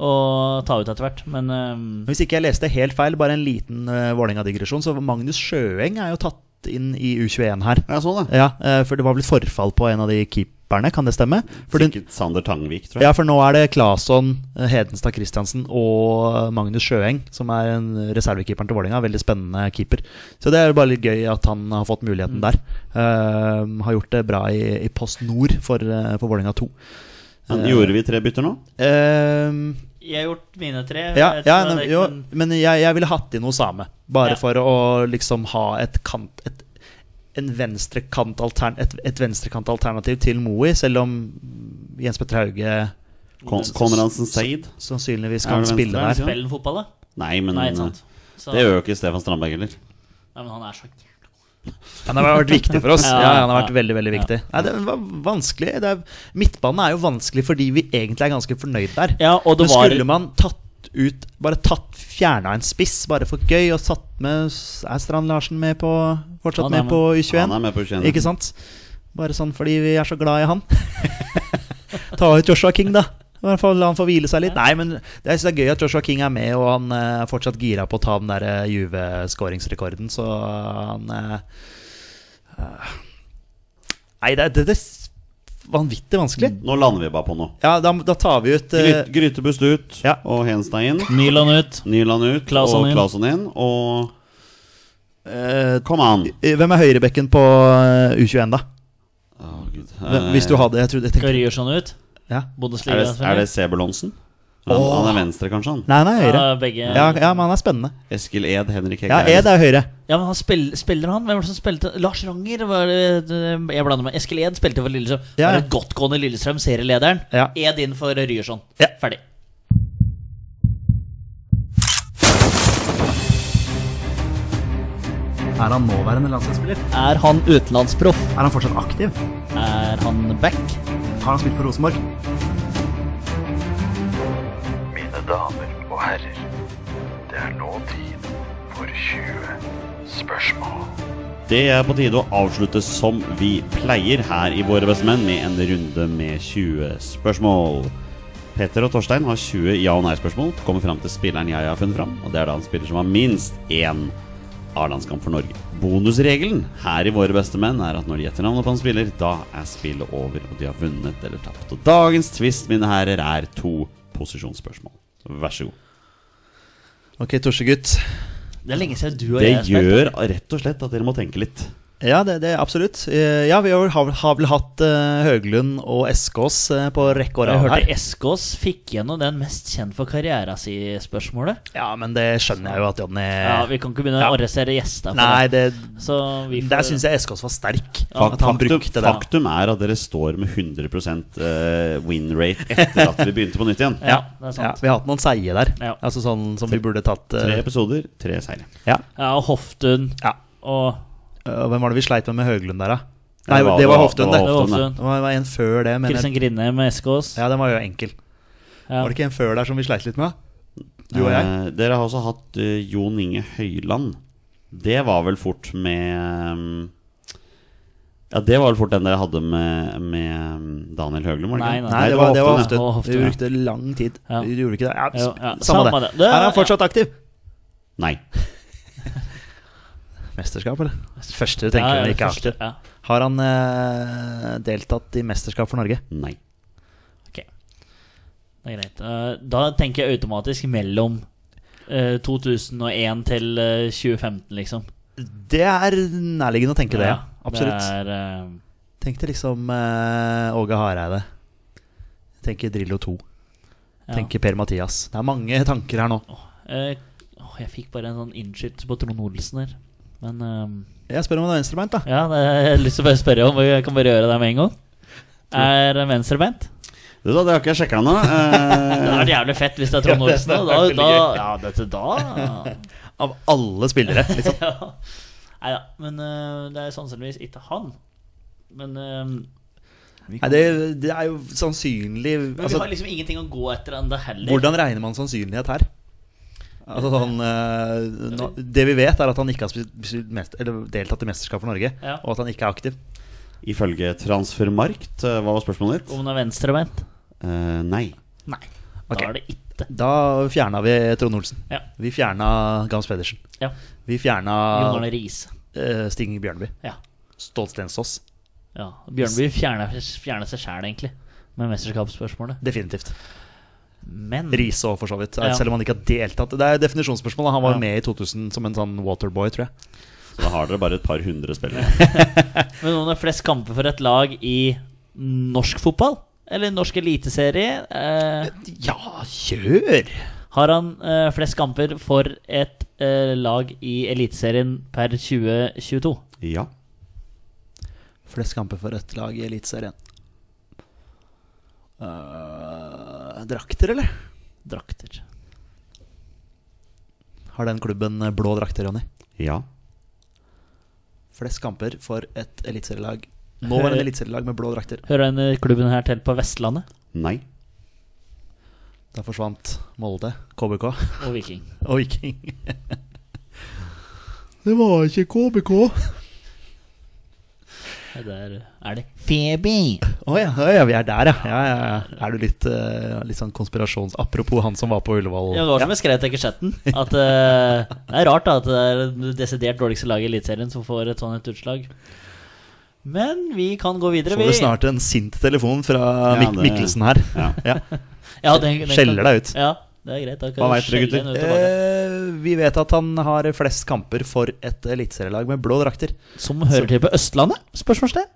å ta ut etter hvert, men ehm, Men Hvis ikke jeg leste helt feil, bare en liten uh, Vålerenga-digresjon, så Magnus Sjøeng er jo tatt inn i U21 her. Jeg så det. Ja, eh, for det var vel forfall på en av de keeperne, kan det stemme? For den, Sikkert Sander Tangvik, tror jeg. ja, for nå er det Claesson, eh, Hedenstad Christiansen og eh, Magnus Sjøeng, som er en reservekeeperen til Vålerenga. Veldig spennende keeper. Så det er jo bare litt gøy at han har fått muligheten der. Eh, har gjort det bra i, i Post Nord for, uh, for Vålerenga 2. Men gjorde vi tre bytter nå? Eh, jeg har gjort mine tre. jeg Ja, vet ja ikke hva nei, det- jo, men- men jeg, jeg ville hatt inn noe same. Bare Ja. for å liksom ha et kant et, en venstrekantaltern, et, et venstrekantalternativ til Moey, selv om Jens Petter Hauge Kon Konradsen Seid? sannsynligvis Er kan det spille venstre? der. Spiller han fotball, da? Nei, men Nei, ikke eh, sant. Så, det gjør jo ikke Stefan Strandberg heller. Nei, men han er så Han har vært viktig for oss. Ja, Ja, han har vært ja. veldig, veldig viktig. Nei, det var vanskelig. Det er, midtbanen er jo vanskelig fordi vi egentlig er ganske fornøyd der. Ja, og Men det var skulle man tatt ut Bare tatt fjerna en spiss, bare for gøy, og satt med Er Strand Larsen med på fortsatt Han er med på U21? Han er med på 21. Ikke sant? Bare sånn fordi vi er så glad i han. <laughs> Ta ut Joshua King, da. I hvert fall La han få hvile seg litt. Nei, men jeg synes det er gøy at Joshua King er med, og han eh, er fortsatt gira på å ta den der eh, Juve-skåringsrekorden, så han eh, eh, Nei, det, det, det er vanvittig vanskelig. Nå lander vi bare på noe. Ja, da, da tar vi ut eh, Gryt, Grytebust ut ja. og Henstein inn. Nyland ut. Nyland ut Claesson og inn. Claesson inn. Og Come on! eh, Hvem er høyrebekken på eh, U21, da? Å, Gud. Hvem, Eh, hvis du hadde jeg trodde, jeg tenkte, Gørjersson ut. ja. Er Bundesliga. det, er det Sebulonsen? Han, Åh. han er venstre, kanskje? han Nei, han er høyre. Ja, begge. Ja, ja, men han er spennende. Eskil Ed, Henrik Hegge Ja, Ed er høyre. Ja, men han spill, Spiller han? Hvem var det som spilte? Lars Ranger? Var det, det- jeg blander meg. Eskil Ed spilte for Lillestrøm. Ja, Ja. ja. Var et godtgående Lillestrøm, serielederen. Ja. Ed inn for Ryerson. Ja. Ferdig. Er han nåværende landslagsspiller? Er han utenlandsproff? Er han fortsatt aktiv? Er han back? Har han spilt for Rosenborg? Mine damer og herrer, det er nå tid for 20 spørsmål. Det er på tide å avslutte som vi pleier her i Våre beste menn med en runde med 20 spørsmål. Petter og Torstein har 20 ja- og nei-spørsmål. Kommer fram til spilleren jeg har funnet fram, og det er da en spiller som har minst én A-landskamp for Norge. Bonusregelen her i Våre beste menn er at når de gjetter navnet på en spiller, da er spillet over, og de har vunnet eller tapt. Og dagens twist, mine herrer, er to posisjonsspørsmål. Vær så god. Ok, Torsegutt. Det er lenge siden du og jeg Det har spilt. gjør rett og slett at dere må tenke litt. Ja, det, det absolutt. Eh, Ja, vi har, vel- har vel hatt eh, Høglund og Eskås eh, på rekke og Jeg rad hørte her. Eskås fikk gjennom den mest kjent for karriera si-spørsmålet. Ja, men det skjønner jeg jo at Jonny Ja, Vi kan ikke begynne å Ja. arrestere gjester. for Nei, det, det. Så vi får, der syns jeg Eskås var sterk. Fak- at han faktum, brukte det. faktum er at dere står med 100 eh, win rate etter at vi begynte på nytt igjen. Ja, det er Ja, sant. vi har hatt noen seie der, Ja. altså sånn som vi burde tatt Tre eh, episoder, tre seire. ja. Ja, og Hoftun Ja. og Eh, Hvem var det vi sleit med med Høglund der, da? Nei, det var- det var det var- det Hoftun, det. var Det var Hoftun, Hoftun. Det var, det var en før det, men Kristian Grinne med Eskås. ja, den var jo enkel. Ja. Var det ikke en før der som vi sleit litt med? Du og jeg? Eh, dere har også hatt eh, Jon Inge Høyland. Det var vel fort med mm, Ja, det var vel fort den dere hadde med, med mm, Daniel Høglund, var det Nei, ikke? nei. Nei, det var, det var Hoftun, ja. ofte. Og Hoftun, Vi ja. brukte lang tid. Ja. Vi gjorde ikke det. Ja, Jo, ja. Samme, Samme det. det. Det- Her er han fortsatt aktiv. Nei. Mesterskap, eller? Første du tenker ja, men det ikke første, aktiv. ja. Har han eh, deltatt i mesterskap for Norge? Nei. Det er greit. Eh, Da tenker jeg automatisk mellom eh, 2001 til eh, 2015, liksom. Det er nærliggende å tenke det, ja. Absolutt. Det er, eh, Tenkte liksom eh, Åge Hareide. Tenker Drillo 2. ja. Tenker Per-Mathias. Det er mange tanker her nå. Eh, åh, jeg fikk bare en sånn innskytelse på Trond Olsen her. Men eh, Jeg spør om han er venstrebeint, da. Ja, det jeg har lyst til å bare spørre om. Jeg kan bare gjøre det med en gang. Er han venstrebeint? Du da, det har ikke jeg sjekka ennå. Det Eh, hadde vært jævlig fett hvis det er Trond Olsen. Da, veldig da, gøy. ja, dette da Av alle spillere. <laughs> Liksom. ja. Nei da. Men eh, det er sannsynligvis ikke han. Men eh, Nei, det, det er jo sannsynlig Men vi altså, har liksom ingenting å gå etter ennå heller. Hvordan regner man sannsynlighet her? Altså sånn, eh, nå, det vi vet, er at han ikke har spilt- spilt mest, eller deltatt i mesterskap for Norge, Ja. og at han ikke er aktiv. ifølge Transfermarkt, eh, hva var spørsmålet ditt? Om han er venstrebeint? Eh, nei. Nei. Ok. Da er det ikke. Da fjerna vi Trond Olsen. Ja. Vi fjerna Gams Pedersen. Ja. Vi fjerna Jon Arne Riise. eh, Stig Bjørneby. Ja. Stolt Stensås. ja. Bjørnby fjerna fjerna seg sjæl, egentlig, med mesterskapsspørsmålet. Definitivt. Men Riise òg, for så vidt. Ja. Selv om han ikke har deltatt. Det er et definisjonsspørsmål. da. Han var Ja. med i 2000 som en sånn waterboy, tror jeg. Så da har dere bare et par hundre spillere. Men noen av flest kamper for et lag i norsk fotball? Eller norsk eliteserie? Eh, Ja, kjør! har han eh, flest kamper for et eh, lag i eliteserien per 2022? Ja. Flest kamper for ett lag i Eliteserien. Eh, drakter, eller? Drakter. Har den klubben blå drakter, Jonny? Ja. Flest kamper for et eliteserielag. Nå var det Eh. en eliteserielag med blå drakter. Hører denne klubben her til på Vestlandet? Nei. Da forsvant Molde, KBK <laughs> Og Viking. og Viking. Det var ikke KBK. Der er det Phoebe! Å ja, å ja, vi er der, ja. ja, ja, ja. Er du litt, eh, litt sånn konspirasjons... Apropos han som var på Ullevål. Ja, det var som jeg skrev til Kersetten. At eh, det er rart da at det er det desidert dårligste laget i Eliteserien som får et sånt et utslag. Men vi kan gå videre, Får vi. du snart en sint telefon fra Ja, Mik det- Mikkelsen her? Ja. Ja. Ja, den- den- Skjeller deg ut. Ja, det er greit. Da kan Hva du vet dere, skjelle den gutter? ut tilbake. Eh, vi vet at han har flest kamper for et eliteserielag med blå drakter. Som hører til på Østlandet? Spørsmålstegn?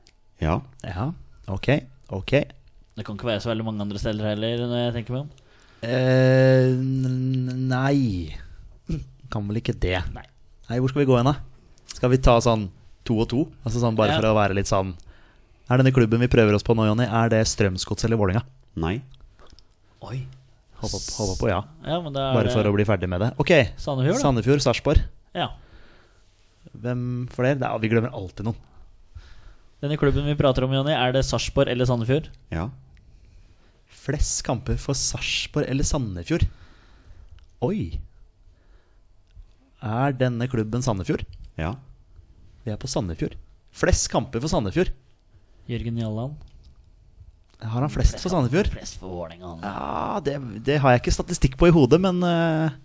Ja. Ja, ok, ok. Det kan ikke være så veldig mange andre steder heller, når jeg tenker meg om. Eh, n- nei Kan vel ikke det. Nei. Nei, hvor skal vi gå hen, da? Skal vi ta sånn to og to? Altså sånn Bare Ja. for å være litt sånn Er denne klubben vi prøver oss på nå, Jonny, er det Strømsgodset eller Vålinga? Nei. Oi. Håper på, håper på ja. Ja, men da er Bare for å bli ferdig med det. Ok, Sandefjord, da. Sandefjord Sarpsborg. eh, Ja. Hvem flere? Nei, vi glemmer alltid noen. Denne klubben vi prater om, Jonny, er det Sarpsborg eller Sandefjord? Ja. Flest kamper for Sarpsborg eller Sandefjord? Oi. Er denne klubben Sandefjord? Ja. Vi er på Sandefjord. Flest kamper for Sandefjord. Jørgen Jalland. Har han flest for Sandefjord? Flest for Vålerenga, han. Ja, det, det har jeg ikke statistikk på i hodet, men eh,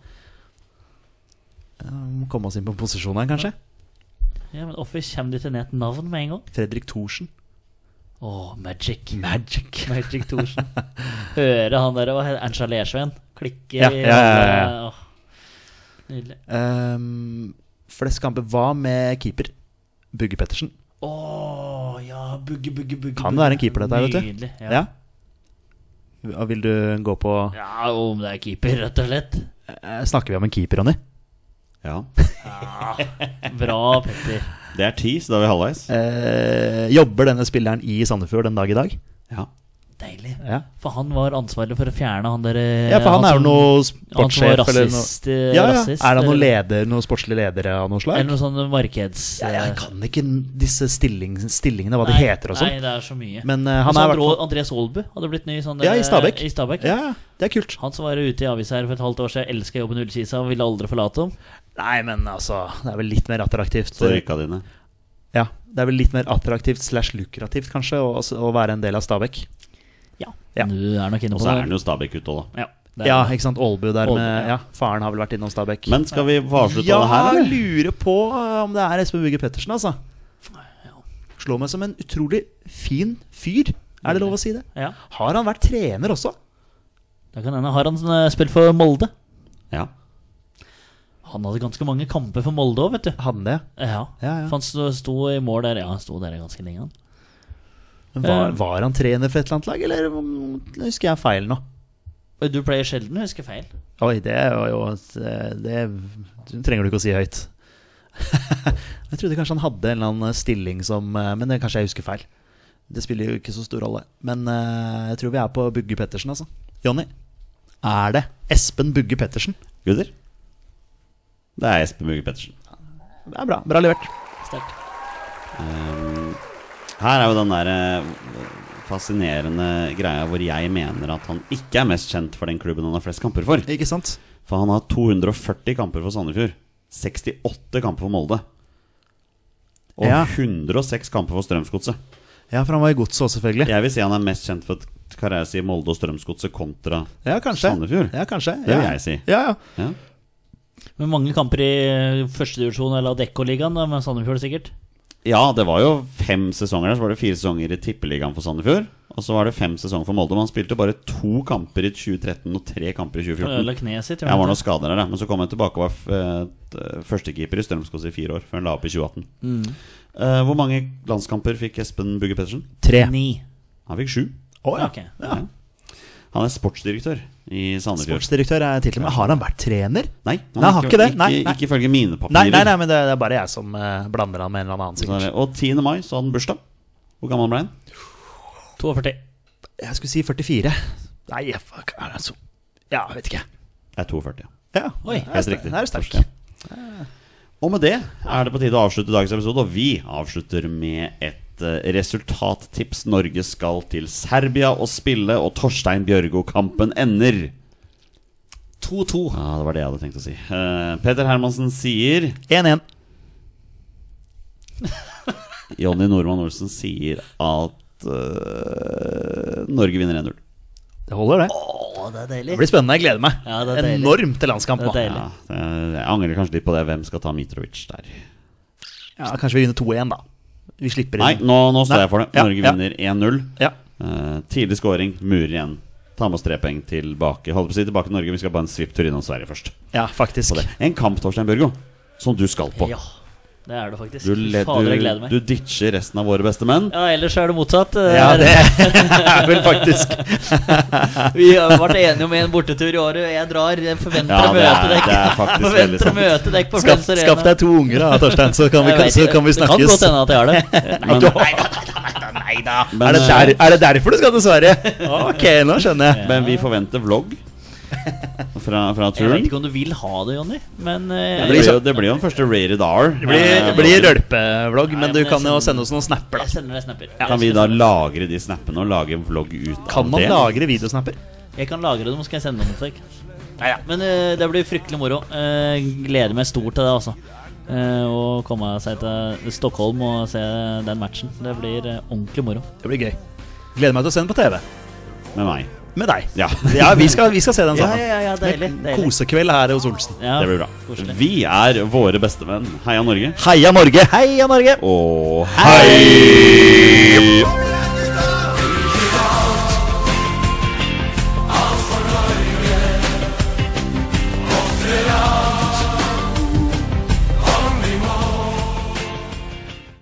eh, Må komme oss inn på posisjon her, kanskje. Ja, men Hvorfor kommer du til nett navn med en gang? Fredrik Thorsen. Å, Magic. Magic Magic <laughs> Thorsen. Høre han der, hva heter Ernst Lersven? Klikke Ja, ja, ja, ja. Åh. Nydelig. Ehm, flest kamper. Hva med keeper? Bugge Pettersen. Å ja, bugge, bugge, bugge. Kan bugge. være en keeper, dette her, vet du. Nydelig. Ja. Ja. ja. Vil du gå på Ja, om det er keeper, rett og slett. Eh, Snakker vi om en keeper, Ronny? Ja. Bra, <laughs> Petter. Det er ti, så da er vi halvveis. Eh, jobber denne spilleren i Sandefjord den dag i dag? Ja. Deilig. Ja, For han var ansvarlig for å fjerne han der eh, for han, er jo som- noe Han som var sportssjef eller noe rasist. eh, ja, ja. rasist Er han noen eller- leder, noen sportslig leder av noe slag? Eller noe sånn markeds... Ja, jeg kan ikke disse stilling, stillingene, hva de Nei, heter og sånn. Nei, det er så mye. Men eh, han er Også i hvert Andro- fall Andreas Aalbu hadde blitt ny sånn Ja, i eh, Stabæk. I Stabæk. Ja, ja, det er kult. Han som var ute i avisa her for et halvt år siden, elska jobben i Ullkisa og ville aldri forlate dem. Nei, men altså, det er vel litt mer attraktivt. Så rykka dine. Ja, det er vel litt mer attraktivt slash lukrativt, kanskje, å, å være en del av Stabæk. Ja. Ja. Du er nok inne Og på så er det. den jo Stabæk ute òg, da. Ja, det er- Ja, ikke sant. Ålbu der Ålbu, med Ja, ja. faren har vel vært innom Stabæk. Men skal vi få avslutta ja, det her, jeg eller? lurer på eh, om det er Espen Bugge Pettersen, altså. Slår meg som en utrolig fin fyr. Er det lov å si det? ja. Har han vært trener også? Da kan hende. Har han eh, spilt for Molde? Ja. Han hadde ganske mange kamper for Molde òg, vet du. Han det. Ja. Ah. Ja, ja. For han sto, sto i mål der. Ja, han sto der ganske lenge, han. Men var, Eh. var han trener for et eller annet lag, eller mm, husker jeg feil nå? Oi, Du pleier sjelden å huske feil. Oi, det var jo et, eh, Det trenger du ikke å si høyt. <laughs> Jeg trodde kanskje han hadde en eller annen stilling som eh, Men det kanskje jeg husker feil. Det spiller jo ikke så stor rolle. Men eh, jeg tror vi er på Bugge Pettersen, altså. Jonny, er det Espen Bugge Pettersen? Gutter? Det er Espen Mugge Pettersen. Det er bra. Bra levert. Sterkt. Ehm, her er jo den der eh, fascinerende greia hvor jeg mener at han ikke er mest kjent for den klubben han har flest kamper for. Ikke sant? For han har 240 kamper for Sandefjord. 68 kamper for Molde. Og Ja. 106 kamper for Strømsgodset. Ja, for han var i godset òg, selvfølgelig. Jeg vil si han er mest kjent for karrieren i Molde og Strømsgodset kontra Ja, kanskje. Sandefjord. Ja, kanskje. Det vil ja. jeg si. Ja, ja. Ja. Med mange kamper i førstedivisjon eller Adeccoligaen, da, med Sandefjord sikkert. Ja, det var jo fem sesonger der. Så var det fire sesonger i Tippeligaen for Sandefjord. Og så var det fem sesonger for Molde. Men han spilte bare to kamper i 2013 og tre kamper i 2014. Ødela kneet sitt. Jeg var noen skader der, da. Men så kom han tilbake og var f- eh, t- førstekeeper i Strømsgodset i fire år, før han la opp i 2018. Mm. Eh, hvor mange landskamper fikk Espen Bugge Pettersen? Tre. Ni. Han fikk sju. Å ja. Ok. Ja. Han er sportsdirektør i Sandefjord. Sportsdirektør er tittelen. Men har han vært trener? Nei, han Nei, han har ikke det. Ikke, Nei, nei. ikke ifølge mine papirer. Nei, nei, nei, men det, det er bare jeg som eh, blander han med en eller annen. Så er det- sikkert Og 10. mai så hadde han bursdag. Hvor gammel ble han? 42. Jeg skulle si 44. Nei, jeg- fuck, er det så Ja, jeg vet ikke. Jeg er 42. Ja, Oi, Helt der er riktig. sterk. Der er sterk. Forstår. Eh. Og med det er det på tide å avslutte dagens episode, og vi avslutter med et eh, resultattips. Norge skal til Serbia og spille, og Torstein Bjørgo-kampen ender. 2-2. Ja, det var det jeg hadde tenkt å si. Eh, Peter Hermansen sier 1-1. Jonny Normann Olsen sier at eh, Norge vinner 1-0. Det holder, det. Å, det er Det deilig. blir spennende. Jeg gleder meg Ja, det er deilig. enormt til landskamp Det nå. er deilig. Ja, det- jeg angrer kanskje litt på det. Hvem skal ta Mitrovic der? Ja, kanskje vi vinner 2-1, da. Vi slipper Nei, inn. nå, nå står Nei. jeg for det. Ja, Norge ja. vinner 1-0. Ja. Eh, tidlig scoring, murer igjen. Ta med oss tre poeng tilbake. Holdt på å si tilbake til Norge, vi skal bare en svipptur innom Sverige først. ja, faktisk. På det. En kamp, Torstein Børgo, som du skal på. Ja, det er det faktisk. Du, led, Fader, jeg gleder du, meg. du ditcher resten av våre beste <laughs> menn. Ja, ellers er det motsatt. Eh, Ja, det er vel faktisk <laughs> Vi har vært enige om en bortetur i året. Jeg drar. Jeg forventer Ja, å det er- møte dere. det <laughs> er faktisk Forventer veldig å sant. møte dere på Skaff, Friends Arena. skaff deg to unger, da, Torstein, så kan vi, Jeg vet så ikke. kan vi Det kan godt snakkes. hende at eh, jeg har det. Nei Men- da, nei da. Men, Er det, der, er det derfor du skal til Sverige? Ok, nå skjønner jeg. Men vi forventer vlogg fra, fra Jeg vet turen. ikke om du vil ha det, Jonny, men Det eh, blir, jo, det blir jo den første rated R. Det blir, eh, det blir vloggen. rølpevlogg, men du kan jo sende oss noen snapper, jeg da. sender deg snapper. Kan vi da lagre de snappene og lage en vlogg ut Kan av man det? lagre videosnapper? Jeg kan lagre dem, og så skal jeg sende dem til deg. Men eh, det blir fryktelig moro. Eh, gleder meg stort til det, altså. Eh, å komme seg til Stockholm og se den matchen. Det blir eh, ordentlig moro. Det blir gøy. Gleder meg til å se den på TV. Med meg. Med deg. Ja. Ja, vi skal, vi skal se den Ja, sammen. ja, ja, deilig. deilig. Kosekveld her hos Olsen. Ja, Det blir bra. koselig. Vi er våre bestevenn. Heia Norge. Heia Norge! Heia Norge! Og Hei!